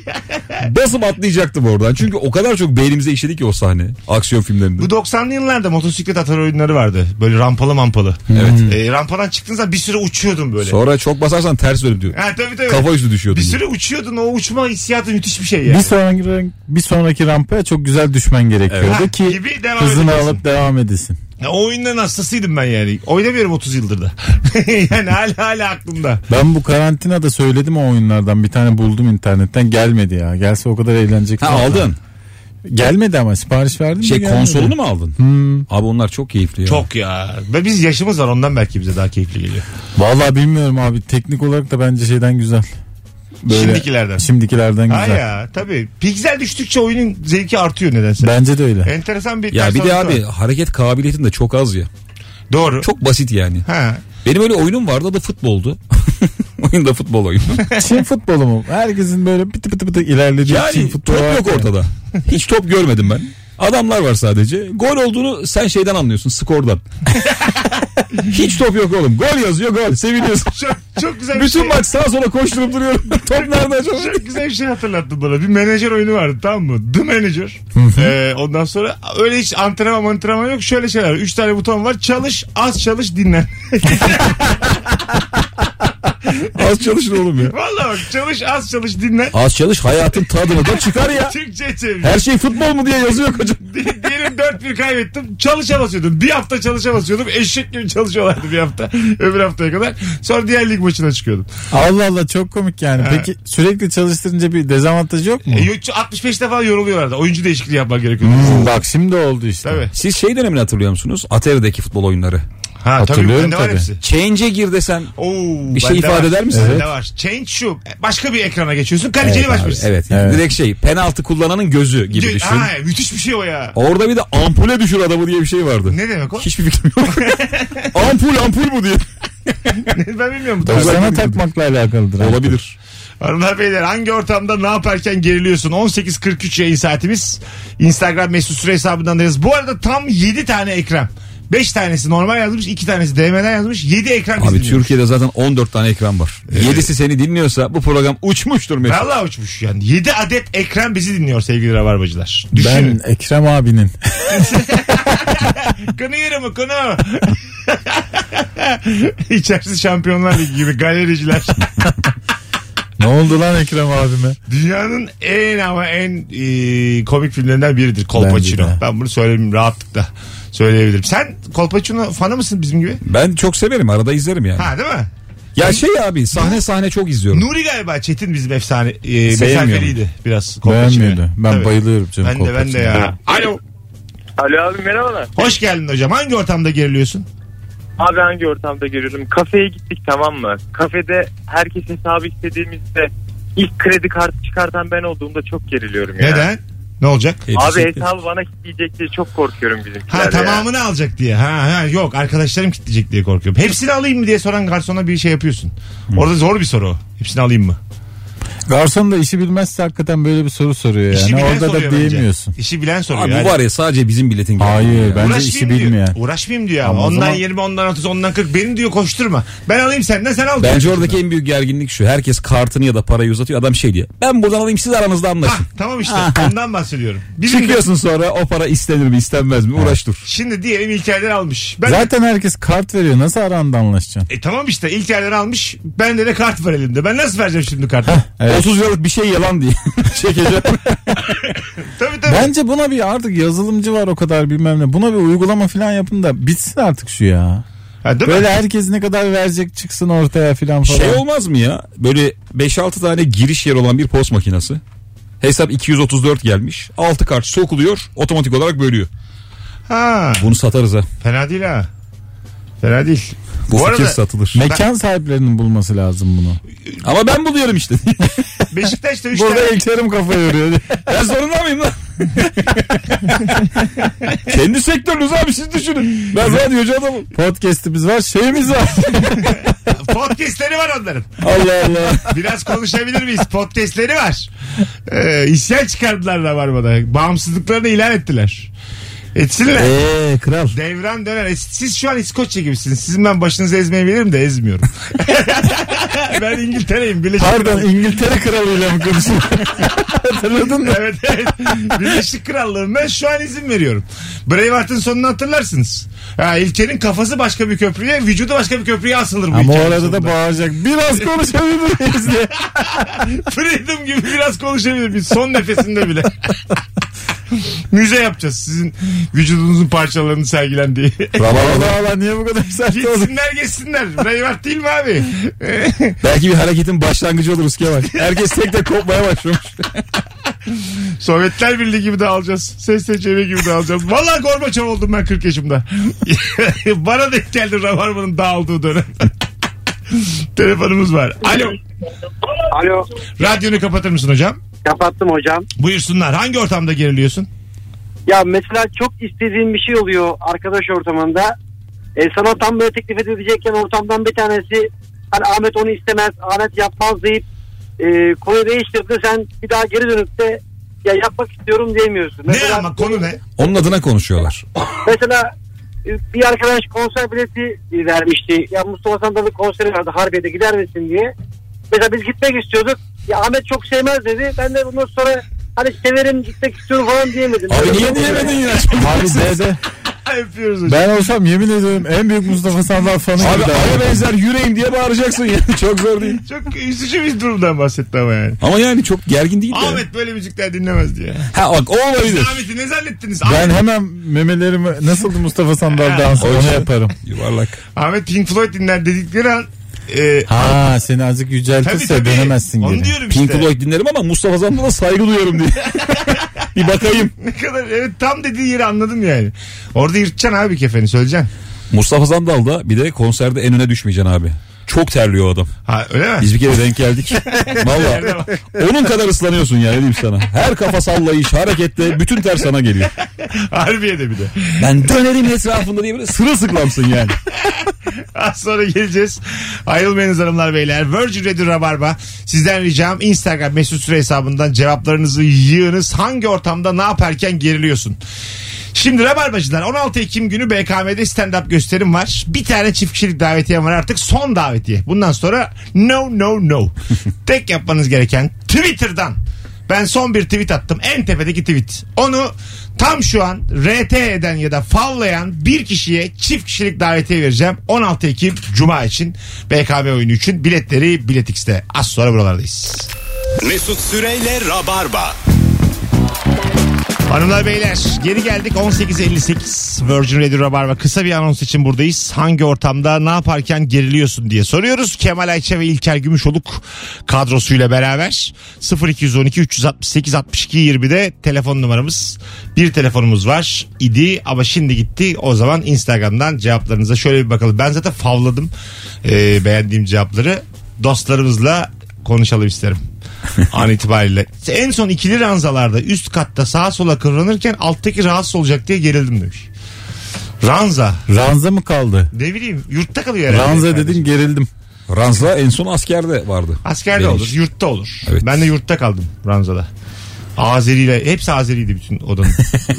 C: basıp atlayacaktım oradan. Çünkü o kadar çok beynimize işledi ki o sahne aksiyon filmlerinde.
B: Bu 90'lı yıllarda motosiklet atar oyunları vardı. Böyle rampalı mampalı. Evet. rampadan çıktığın zaman bir süre uçuyordun böyle.
C: Sonra çok basarsan ters dönüp diyor.
B: ha, tabii tabii.
C: Kafa üstü düşüyordu.
B: bir süre uçuyordun o uçma hissiyatı müthiş bir şey yani.
D: Bir sonraki, bir sonraki rampaya çok güzel düşmen gerekiyordu
B: Evet.
D: ki
B: Gibi devam
D: hızını
B: edebilirsin.
D: alıp devam edesin.
B: Ya, o oyundan hastasıydım ben yani. Oynamıyorum 30 yıldır da. [LAUGHS] yani hala hala aklımda.
D: Ben bu karantinada söyledim o oyunlardan bir tane buldum internetten gelmedi ya. Gelse o kadar eğlenecek.
C: Ha aldın.
D: Gelmedi ama sipariş verdim. de
C: Şey
D: gelmedi.
C: konsolunu mu aldın? Abi onlar çok keyifli ya.
B: Çok ya. Ve biz yaşımız var ondan belki bize daha keyifli geliyor.
D: Vallahi bilmiyorum abi teknik olarak da bence şeyden güzel. Böyle-
B: Şimdikilerden.
D: Şimdikilerden güzel.
B: Ha ya tabii. Piksel düştükçe oyunun zevki artıyor nedense.
D: Bence de öyle.
B: Enteresan bir
C: Ya bir de
B: tersatlık
C: abi
B: var.
C: hareket kabiliyetin de çok az ya.
B: Doğru.
C: Çok basit yani.
B: Ha.
C: Benim öyle oyunum vardı da futboldu. [LAUGHS] Oyun da futbol oyunu.
D: Çin futbolu mu? Herkesin böyle pıtı pıtı pıtı ilerlediği Çin
C: Yani top
D: futbolu. var
C: yok
D: ya.
C: ortada. Hiç top görmedim ben. Adamlar var sadece. Gol olduğunu sen şeyden anlıyorsun skordan. [LAUGHS] Hiç top yok oğlum. Gol yazıyor gol. Seviniyorsun. [LAUGHS]
B: Çok, çok güzel bir
C: Bütün
B: şey.
C: maç sağa sola koşturup duruyorum. [LAUGHS] top nerede acaba?
B: Çok güzel bir şey hatırlattın bana. Bir menajer oyunu vardı tamam mı? The Manager. Ee, ondan sonra öyle hiç antrenman antrenman yok. Şöyle şeyler. Üç tane buton var. Çalış, az çalış, dinlen. [LAUGHS]
C: Az çalışın oğlum ya.
B: Vallahi bak çalış, az çalış, dinlen.
C: Az çalış hayatın tadını da çıkar ya.
B: Türkçe çevir.
C: Her şey futbol mu diye yazıyor koca.
B: Diyelim 4-1 kaybettim. Çalışa basıyordum. Bir hafta çalışa basıyordum. Eşek gibi çalışıyorlardı bir hafta. [LAUGHS] Öbür haftaya kadar. Sonra diğer lig maçına çıkıyordum.
D: Allah Allah çok komik yani. Peki sürekli çalıştırınca bir dezavantajı yok mu?
B: E, yo- 65 defa yoruluyorlardı. Oyuncu değişikliği yapmak gerekiyordu.
D: Hmm, bak şimdi oldu işte.
B: Tabii.
C: Siz şey dönemini hatırlıyor musunuz? Atari'deki futbol oyunları.
B: Ha,
D: Hatırlıyorum
B: tabii. bende var
D: tabii.
B: hepsi.
C: Change'e gir desen
B: Oo,
C: Bir şey
B: bende
C: ifade
B: var.
C: eder misin?
B: Bende
C: Evet.
B: var. Change şu. E, Başka bir ekrana geçiyorsun. Kalecili
C: Evet abi,
B: başmışsın.
C: Evet.
D: Evet.
C: Direkt şey penaltı kullananın gözü gibi
B: Ge-
C: düşün.
B: Ha, müthiş bir şey o ya.
C: Orada bir de ampule düşür adamı diye bir şey vardı.
B: Ne demek o?
C: Hiçbir fikrim yok. ampul ampul mu diye.
B: [LAUGHS] ben bilmiyorum. bu
D: O
B: tarz.
D: sana takmakla alakalıdır.
C: Olabilir.
B: Hanımlar beyler hangi ortamda ne yaparken geriliyorsun? 18.43 yayın saatimiz. Instagram mesut süre hesabındayız. Bu arada tam 7 tane ekran. 5 tanesi normal yazmış, 2 tanesi DM'den yazmış. 7 ekran
C: Abi
B: izliyor.
C: Türkiye'de zaten 14 tane ekran var. 7'si seni dinliyorsa bu program uçmuştur Mesut.
B: Vallahi uçmuş yani. 7 adet ekran bizi dinliyor sevgili rabarbacılar.
D: Ben
B: Düşünün.
D: Ekrem abinin. [LAUGHS]
B: Konu yeri mi konu? [LAUGHS] İçerisi Şampiyonlar Ligi gibi galericiler.
D: ne oldu lan Ekrem abime?
B: Dünyanın en ama en e, komik filmlerinden biridir Kolpaçino.
D: Bence de.
B: Ben bunu söyleyeyim rahatlıkla söyleyebilirim. Sen Kolpaçino fanı mısın bizim gibi?
C: Ben çok severim arada izlerim yani.
B: Ha değil mi?
C: Ya şey abi sahne sahne çok izliyorum.
B: Nuri galiba Çetin bizim efsane e,
C: Sevmiyorum.
B: mesafeliydi biraz Kolpaçino'ya.
D: Beğenmiyordu. Ben
B: şey. Tabii.
D: bayılıyorum canım
B: Ben de ben de
D: Kolpaçino'ya.
B: ya. Alo.
E: Alo abi merhabalar.
B: Hoş geldin hocam. Hangi ortamda geriliyorsun?
E: Abi hangi ortamda görüyorum? Kafeye gittik tamam mı? Kafede herkes hesabı istediğimizde ilk kredi kartı çıkartan ben olduğumda çok geriliyorum ya.
B: Neden? Ne olacak?
E: Abi hesabı bana kitleyecek diye çok korkuyorum bizimkiler
B: Ha
E: ya.
B: tamamını alacak diye. Ha ha yok arkadaşlarım kitleyecek diye korkuyorum. Hepsini alayım mı diye soran garsona bir şey yapıyorsun. Orada zor bir soru o. Hepsini alayım mı?
D: Garson da işi bilmezse hakikaten böyle bir soru soruyor yani.
B: İşi bilen
D: Orada da
B: soruyor bence.
D: diyemiyorsun.
B: İşi bilen soruyor.
C: Abi
B: Yani
C: bu var ya sadece bizim milletin geldiği
D: Hayır,
C: ya.
D: ben- Bence
B: uğraşmayayım
D: işi
B: diyor.
D: bilmeyen.
B: Uğraşmayayım diyor ama.
D: Ama o
B: Ondan
D: zaman-
B: 20, ondan 30, ondan 40. Benim diyor koşturma. Ben alayım senden sen al. diyor.
C: Bence
B: [LAUGHS]
C: oradaki en büyük gerginlik şu. Herkes kartını ya da parayı uzatıyor. Adam şey diyor. Ben buradan alayım siz aranızda
B: Hah,
C: anlaşın.
B: tamam
D: [LAUGHS]
B: işte. Ondan bahsediyorum. Bizim
C: Çıkıyorsun sonra o para istenir mi istenmez mi uğraş dur.
B: Şimdi diyelim İlker'den almış. Ben
D: Zaten herkes kart veriyor. Nasıl aranda anlaşacaksın?
B: E tamam işte İlker'den almış. Bende de kart var elimde. Ben nasıl vereceğim şimdi kartı?
D: Evet.
C: 30 liralık bir şey yalan [LAUGHS] diye çekeceğim.
B: [LAUGHS] tabii tabii.
D: Bence buna bir artık yazılımcı var o kadar bilmem ne. Buna bir uygulama falan yapın da bitsin artık şu ya.
B: Ha, değil mi?
D: Böyle herkes ne kadar verecek çıksın ortaya falan falan.
C: şey olmaz mı ya? Böyle 5-6 tane giriş yeri olan bir post makinesi. Hesap 234 gelmiş. 6 kart sokuluyor otomatik olarak bölüyor.
B: Ha,
C: Bunu satarız ha.
B: fena değil ha. Fena değil.
C: Bu,
B: Bu
C: fikir
B: arada-
C: satılır.
D: Mekan sahiplerinin bulması lazım bunu.
C: Ama ben buluyorum işte.
B: Beşiktaş'ta 3
D: Burada
B: tane
D: İlker'im kafa [LAUGHS] yoruyor.
C: ben zorunda mıyım lan? [LAUGHS] Kendi sektörünüz abi
D: şey
C: siz düşünün. Ben radyocu adamım.
D: Podcast'imiz var, şeyimiz var.
B: [LAUGHS] podcastleri var onların.
D: [LAUGHS] Allah Allah.
B: Biraz konuşabilir miyiz? Podcastleri var. Ee, isyan çıkardılar Rabarba'da. Bağımsızlıklarını ilan ettiler. Etsinler.
D: Eee kral.
B: Devran döner. E, Siz şu an İskoçya gibisiniz. Sizin ben başınızı ezmeyebilirim de ezmiyorum. [LAUGHS] ben İngiltere'yim. Birleşik
D: Pardon
B: Krallık.
D: İngiltere kralıyla mı konuşuyorsun? [LAUGHS] Hatırladın mı?
B: Evet, evet. Birleşik Krallığım ben şu an izin veriyorum. Braveheart'ın sonunu hatırlarsınız. Ha, İlker'in kafası başka bir köprüye, vücudu başka bir köprüye asılır bu
D: [LAUGHS] Ama o
B: hikayenin
D: arada da
B: sonunda.
D: bağıracak. Biraz konuşabilir miyiz [LAUGHS] diye.
B: Freedom gibi biraz konuşabilir miyiz? Son nefesinde bile. [LAUGHS] Müze yapacağız sizin vücudunuzun parçalarını
D: [LAUGHS]
B: sergilendiği.
D: Allah Allah niye bu kadar sert oldu?
B: Gitsinler geçsinler. Braveheart değil mi abi?
C: Belki bir hareketin başlangıcı olur Ruskiye
D: [LAUGHS]
C: bak. Herkes tek tek kopmaya başlamış.
B: Sovyetler Birliği gibi dağılacağız. Ses seçeneği gibi dağılacağız. Valla Gorbaçov oldum ben 40 yaşımda. [LAUGHS] Bana denk geldi Rabarba'nın dağıldığı dönem. [LAUGHS] Telefonumuz var. Alo.
H: Alo.
B: Radyonu kapatır mısın hocam?
H: Kapattım hocam.
B: Buyursunlar. Hangi ortamda geriliyorsun?
H: Ya mesela çok istediğim bir şey oluyor arkadaş ortamında. E, sana tam böyle teklif edilecekken ortamdan bir tanesi hani Ahmet onu istemez, Ahmet yapmaz deyip e, konuyu değiştirdi. Sen bir daha geri dönüp de ya yapmak istiyorum diyemiyorsun.
B: Ne ama konu ne?
C: Onun adına konuşuyorlar.
H: Mesela e, bir arkadaş konser bileti e, vermişti. Ya Mustafa Sandal'ın konseri vardı Harbiye'de gider misin diye. Mesela biz gitmek istiyorduk. Ya Ahmet çok sevmez dedi. Ben de bundan sonra hani severim gitmek istiyorum falan diyemedim.
C: Abi
H: Böyle
C: niye
H: bir-
C: diyemedin ya?
D: Abi dede
B: Ay, Öpüyoruz hocam.
D: ben olsam yemin ediyorum en büyük Mustafa Sandal fanı
C: Abi
D: gibi
C: aya benzer yüreğim diye bağıracaksın ya. [LAUGHS] Çok zor değil.
B: Çok üzücü bir durumdan bahsetti ama yani.
C: Ama yani çok gergin değil de.
B: Ahmet böyle müzikler dinlemez diye.
C: Ha bak o
B: Siz
C: olabilir.
B: Ahmet'i ne zannettiniz?
D: Ben
B: Ahmet,
D: hemen memelerimi nasıldı Mustafa Sandal dansı
C: O
D: onu
C: işte.
D: yaparım.
C: Yuvarlak.
B: Ahmet Pink Floyd dinler dedikleri an e,
D: Ha seni azıcık
B: tabii
D: yüceltirse
B: tabii.
D: dönemezsin
B: Onu
D: geri.
B: diyorum işte.
C: Pink Floyd dinlerim ama Mustafa Sandal'a saygı duyuyorum diye. [LAUGHS] bir bakayım.
B: Ne kadar evet tam dediği yeri anladım yani. Orada yırtacaksın abi kefeni söyleyeceksin.
C: Mustafa Sandal da bir de konserde en öne düşmeyeceksin abi. Çok terliyor o adam.
B: Ha öyle mi?
C: Biz bir kere denk geldik. Valla. Onun kadar ıslanıyorsun ya ne diyeyim sana. Her kafa sallayış, harekette bütün ter sana geliyor.
B: [LAUGHS] Harbiye'de bir de.
C: Ben dönerim etrafında diye böyle sırılsıklamsın yani.
B: Az sonra geleceğiz. Ayrılmayınız hanımlar beyler. Virgin Radio Rabarba. Sizden ricam Instagram mesut süre hesabından cevaplarınızı yığınız. Hangi ortamda ne yaparken geriliyorsun? Şimdi Rabarbacılar 16 Ekim günü BKM'de stand-up gösterim var. Bir tane çift kişilik davetiye var artık. Son davetiye. Bundan sonra no no no. Tek yapmanız gereken Twitter'dan. Ben son bir tweet attım. En tepedeki tweet. Onu tam şu an RT eden ya da fallayan bir kişiye çift kişilik davetiye vereceğim. 16 Ekim Cuma için BKM oyunu için biletleri Bilet X'te. Az sonra buralardayız.
A: Mesut Süreyle Rabarba.
B: Hanımlar beyler geri geldik 18.58 Virgin Radio Rabarba kısa bir anons için buradayız. Hangi ortamda ne yaparken geriliyorsun diye soruyoruz. Kemal Ayça ve İlker Gümüşoluk kadrosuyla beraber 0212 368 62 20'de telefon numaramız. Bir telefonumuz var idi ama şimdi gitti. O zaman Instagram'dan cevaplarınıza şöyle bir bakalım. Ben zaten favladım eee, beğendiğim cevapları. Dostlarımızla konuşalım isterim [LAUGHS] an itibariyle. En son ikili ranzalarda üst katta sağa sola kıvranırken alttaki rahatsız olacak diye gerildim demiş. Ranza.
D: Ranza mı kaldı?
B: Ne bileyim yurtta kalıyor herhalde.
D: Ranza
B: kardeşim.
D: dedin gerildim.
C: Ranza en son askerde vardı.
B: Askerde
C: Benim
B: olur,
C: için.
B: yurtta olur.
C: Evet.
B: Ben de yurtta kaldım Ranza'da. Azeri'yle, hepsi Azeri'ydi bütün
C: [LAUGHS]
B: odanın.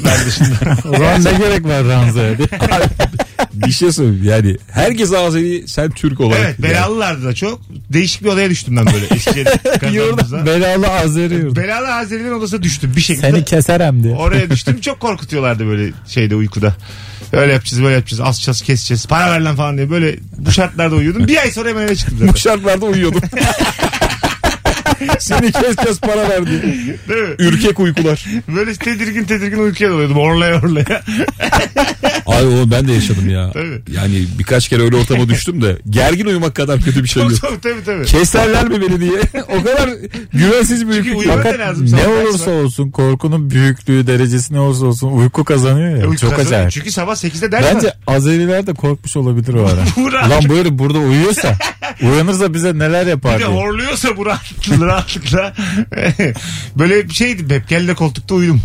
B: ben dışında.
D: O zaman ne gerek var ranzaya? diye.
C: Bir şey söyleyeyim yani herkes Azeri sen Türk olarak.
B: evet, belalılardı da çok. Değişik bir odaya düştüm ben
C: [LAUGHS]
B: böyle Eskişehir'de kazandığımızda.
D: Belalı Azeri yurdu.
B: Belalı Azeri'nin odasına düştüm bir şekilde.
D: Seni keserem diye.
B: Oraya düştüm çok korkutuyorlardı böyle şeyde uykuda. Öyle yapacağız böyle yapacağız asacağız keseceğiz para ver lan falan diye böyle bu şartlarda uyuyordum. Bir ay sonra hemen eve çıktım
C: Bu
B: zaten.
C: şartlarda uyuyordum. Seni kes kes para verdi.
B: Değil mi?
C: Ürkek uykular.
B: Böyle tedirgin tedirgin uykuya dalıyordum orlaya orlaya.
C: Ay o ben de yaşadım ya.
B: [LAUGHS] Tabii.
C: Yani birkaç kere öyle ortama düştüm de gergin uyumak kadar kötü bir şey
B: Çok
C: yok.
B: çok [LAUGHS] tabii tabii.
C: Keserler mi beni
D: [LAUGHS]
C: diye. O kadar güvensiz bir
B: Çünkü
C: ülke.
B: uyumak da
D: Fakat
B: lazım.
D: ne
B: sabah
D: olursa
B: sonra.
D: olsun korkunun büyüklüğü derecesi ne olursa olsun uyku kazanıyor ya.
B: E, uyku
D: çok
B: kazanıyor.
D: acayip.
B: Çünkü sabah 8'de ders var.
D: Bence Azeriler de korkmuş olabilir o
B: [LAUGHS] Burak.
D: ara. Lan böyle burada uyuyorsa uyanırsa bize neler yapar
B: Bir de
D: diye.
B: horluyorsa bu rahatlıkla, rahatlıkla. [LAUGHS] böyle bir şeydi hep kelle koltukta uyudum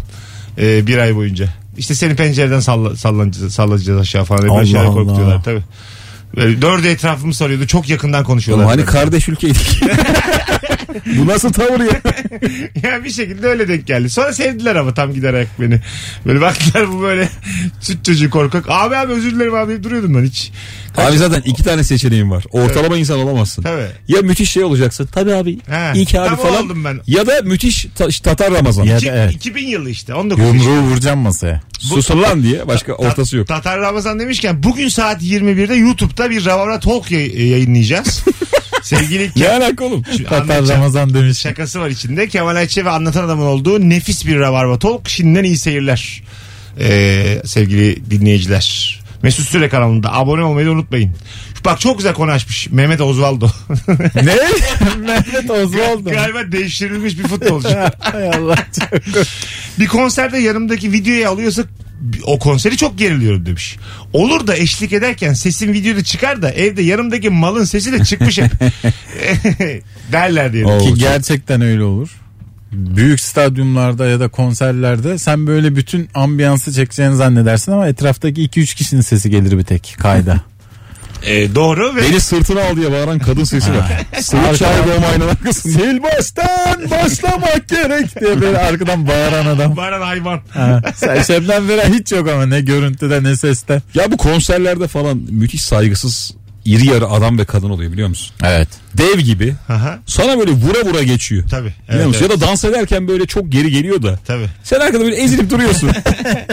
B: Ee, bir ay boyunca. İşte seni pencereden salla, sallanacağız, sallanacağız aşağı falan. Böyle
D: Allah
B: şeyler
D: Allah.
B: korkutuyorlar tabii. Böyle dördü etrafımı soruyordu. Çok yakından konuşuyorlar.
C: Oğlum hani
B: Böyle. [LAUGHS]
C: kardeş ülkeydik. Bu nasıl tavır ya?
B: yani bir şekilde öyle denk geldi. Sonra sevdiler ama tam giderek beni. Böyle baktılar bu böyle süt çocuğu korkak. Abi abi özür dilerim abi deyip duruyordum ben hiç.
C: Abi zaten iki tane seçeneğim var. Ortalama insan olamazsın.
B: Tabii.
C: Ya müthiş şey olacaksın. Tabii abi.
B: He.
C: iyi ki abi
B: Tam o
C: falan.
B: oldum ben.
C: Ya da müthiş ta- Tatar Ramazan.
D: Ya
B: İki-
D: da evet.
B: 2000 yılı işte 19 yaşında.
D: Yumruğu vuracağım masaya.
C: Susun lan diye başka ortası yok.
B: Tatar Ramazan demişken bugün saat 21'de YouTube'da bir Ravara Talk yay-
D: [LAUGHS]
B: yayınlayacağız. Sevgili
C: Ne
B: Ke-
C: alaka oğlum?
D: Tatar
B: Anlatacağım.
D: Ramazan demiş.
B: şakası var içinde. Kemal Ayçe ve Anlatan Adam'ın olduğu nefis bir Rabarba Talk. Şimdiden iyi seyirler Ee, sevgili dinleyiciler. Mesut Süre kanalında abone olmayı da unutmayın. Bak çok güzel konu açmış Mehmet Osvaldo. [LAUGHS]
D: ne? [LAUGHS] Mehmet Osvaldo.
B: Galiba değiştirilmiş bir
C: [LAUGHS]
B: futbolcu.
D: Hay Allah.
B: bir konserde yanımdaki videoyu alıyorsa o konseri çok geriliyorum demiş. Olur da eşlik ederken sesin videoda çıkar da evde yanımdaki malın sesi de çıkmış
C: [LAUGHS]
B: hep. [LAUGHS] Derler diye.
C: Oo,
D: Ki
C: çok-
D: gerçekten öyle olur. Büyük stadyumlarda ya da konserlerde sen böyle bütün ambiyansı çekeceğini zannedersin ama etraftaki 2-3 kişinin sesi gelir bir tek kayda.
B: Ee, doğru ve
C: [LAUGHS] Beni sırtına al diye bağıran kadın sesi
D: [LAUGHS]
C: var. Sırık şahit olmayın arkasında.
D: Sil baştan başlamak gerek diye böyle arkadan bağıran adam.
B: Baran hayvan.
D: Ha, sen Şebnem Ferah hiç yok ama ne görüntüde ne seste.
C: Ya bu konserlerde falan müthiş saygısız iri yarı adam ve kadın oluyor biliyor musun?
D: Evet.
C: Dev gibi.
B: Aha.
C: Sana böyle vura vura geçiyor.
B: Tabii.
C: Biliyor
B: Evet,
C: musun?
B: evet.
C: Ya da dans ederken böyle çok geri geliyor da.
B: Tabii.
C: Sen arkada böyle
B: [LAUGHS]
C: ezilip duruyorsun.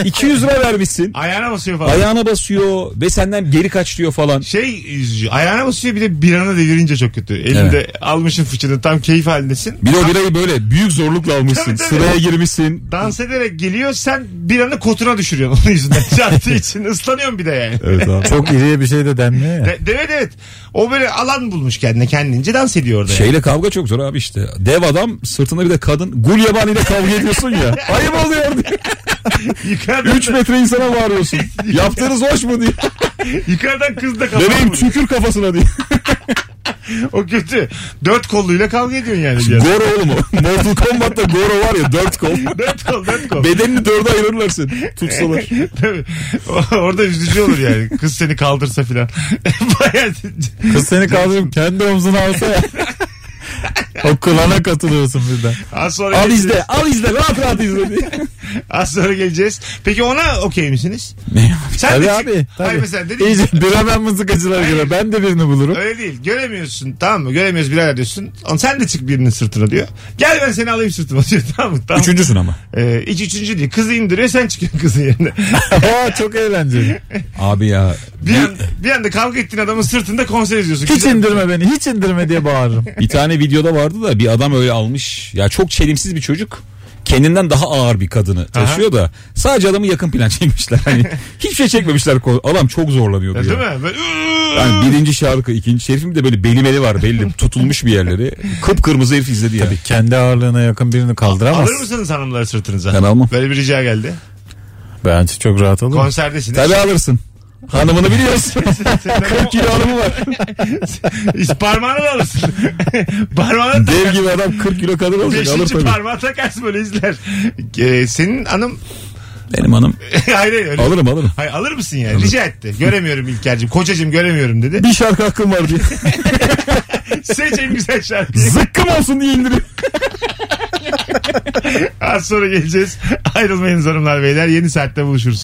C: 200 lira vermişsin.
B: Ayağına basıyor falan.
C: Ayağına basıyor ve senden geri kaçlıyor falan.
B: şey üzücü. Ayağına basıyor bir de bir ana devirince çok kötü. Elinde almışın fıçını tam keyif halindesin.
C: Bir de o birayı böyle büyük zorlukla
B: Tabii,
C: almışsın.
B: tabii.
C: Sıraya girmişsin.
B: Dans ederek geliyor sen bir anı kotuna düşürüyorsun [LAUGHS] onun yüzünden.
C: [LAUGHS]
B: Çarptığı için ıslanıyorsun bir de yani.
C: Evet abi.
D: Çok iriye bir şey de denmiyor ya.
B: De- evet evet. O böyle alan bulmuş kendine kendince dans ediyor orada. yani.
C: Şeyle kavga çok zor abi işte. Dev adam sırtında bir de kadın gul yabaniyle kavga
B: [LAUGHS]
C: ediyorsun ya. Ayıp oluyor diye.
B: Yukarıdan,
C: 3 metre insana bağırıyorsun. Yaptığınız hoş
B: [LAUGHS]
C: mu diye.
B: yukarıdan kız da kafa
C: Bebeğim
B: vuruyor.
C: tükür kafasına diye.
B: O kötü. Dört kolluyla kavga ediyorsun yani. bir ara.
C: Goro oğlum o. Mortal Kombat'ta Goro var ya dört
D: [LAUGHS]
C: kol.
B: dört kol dört kol.
C: Bedenini dörde ayırırlar seni. Tutsalar.
B: Tabii. O- Orada üzücü olur yani. Kız seni kaldırsa filan. [LAUGHS] Bayağı
D: Kız seni kaldırıp kendi omzuna
B: [LAUGHS]
D: alsa ya. o kulağına katılıyorsun birden.
B: az sonra,
C: Al
B: geleceğiz.
C: izle al izle rahat rahat
B: [LAUGHS]
C: izle diye.
B: az sonra geleceğiz. Peki ona okey misiniz? Sen
D: Tabii
B: de-
D: abi. Tabii.
B: Hayır mesela dedin ki-
D: İyice bir hemen mızıkacılar göre. Ben de birini bulurum.
B: Öyle değil. Göremiyorsun tamam mı? Göremiyoruz birader diyorsun. Lan Sen de çık birinin sırtına diyor. Gel ben seni alayım sırtıma [LAUGHS] diyor. Tamam mı? Tamam.
C: Üçüncüsün ama.
B: Ee, iç üçüncü değil. Kızı indiriyor sen çıkıyorsun kızın
C: [LAUGHS]
B: yerine.
D: Aa,
B: [LAUGHS]
D: çok eğlenceli.
C: Abi ya.
B: Bir, an, bir anda kavga ettiğin adamın sırtında konser izliyorsun.
D: Hiç
B: Güzel.
D: indirme beni. Hiç indirme diye bağırırım.
C: Bir tane videoda vardı da bir adam öyle almış. Ya çok çelimsiz bir çocuk. Kendinden daha ağır bir kadını taşıyor da sadece adamı yakın plan [LAUGHS] çekmişler. Hani hiçbir şey çekmemişler. Adam çok
B: Ya
C: zorlanıyordu. ya.
B: E, Değil mi? Böyle,
C: Yani birinci şarkı, ikinci şerifin bir de böyle belimeli
B: [LAUGHS]
C: var belli. Tutulmuş bir yerleri. Kıpkırmızı herif izledi ya.
D: Tabii kendi ağırlığına yakın birini kaldıramaz.
B: Alır mısınız hanımları sırtınıza?
C: Ben almam.
B: Böyle bir rica geldi.
D: Bence çok rahat olur.
B: Konserdesiniz.
C: Tabii alırsın.
B: [LAUGHS]
C: Hanımını biliyorsun. 40 kilo hanımı var.
B: Hiç parmağını da alırsın. [LAUGHS] parmağını da
C: Dev gibi adam 40 kilo kadın olacak alır
B: Beşinci
C: tabii.
B: parmağı takarsın böyle izler. Ee, senin hanım
C: Benim hanım
B: [LAUGHS] hayır hayır öyle.
C: alırım alırım.
B: Hayır, alır mısın yani? Rica etti. Göremiyorum İlker'cim. Kocacığım göremiyorum
C: [LAUGHS]
B: dedi.
C: Bir şarkı
B: [LAUGHS]
C: hakkım var diye.
B: Seç en güzel şarkıyı.
C: Zıkkım olsun diye indiriyor.
B: Az sonra geleceğiz. Ayrılmayınız hanımlar beyler. Yeni saatte buluşuruz.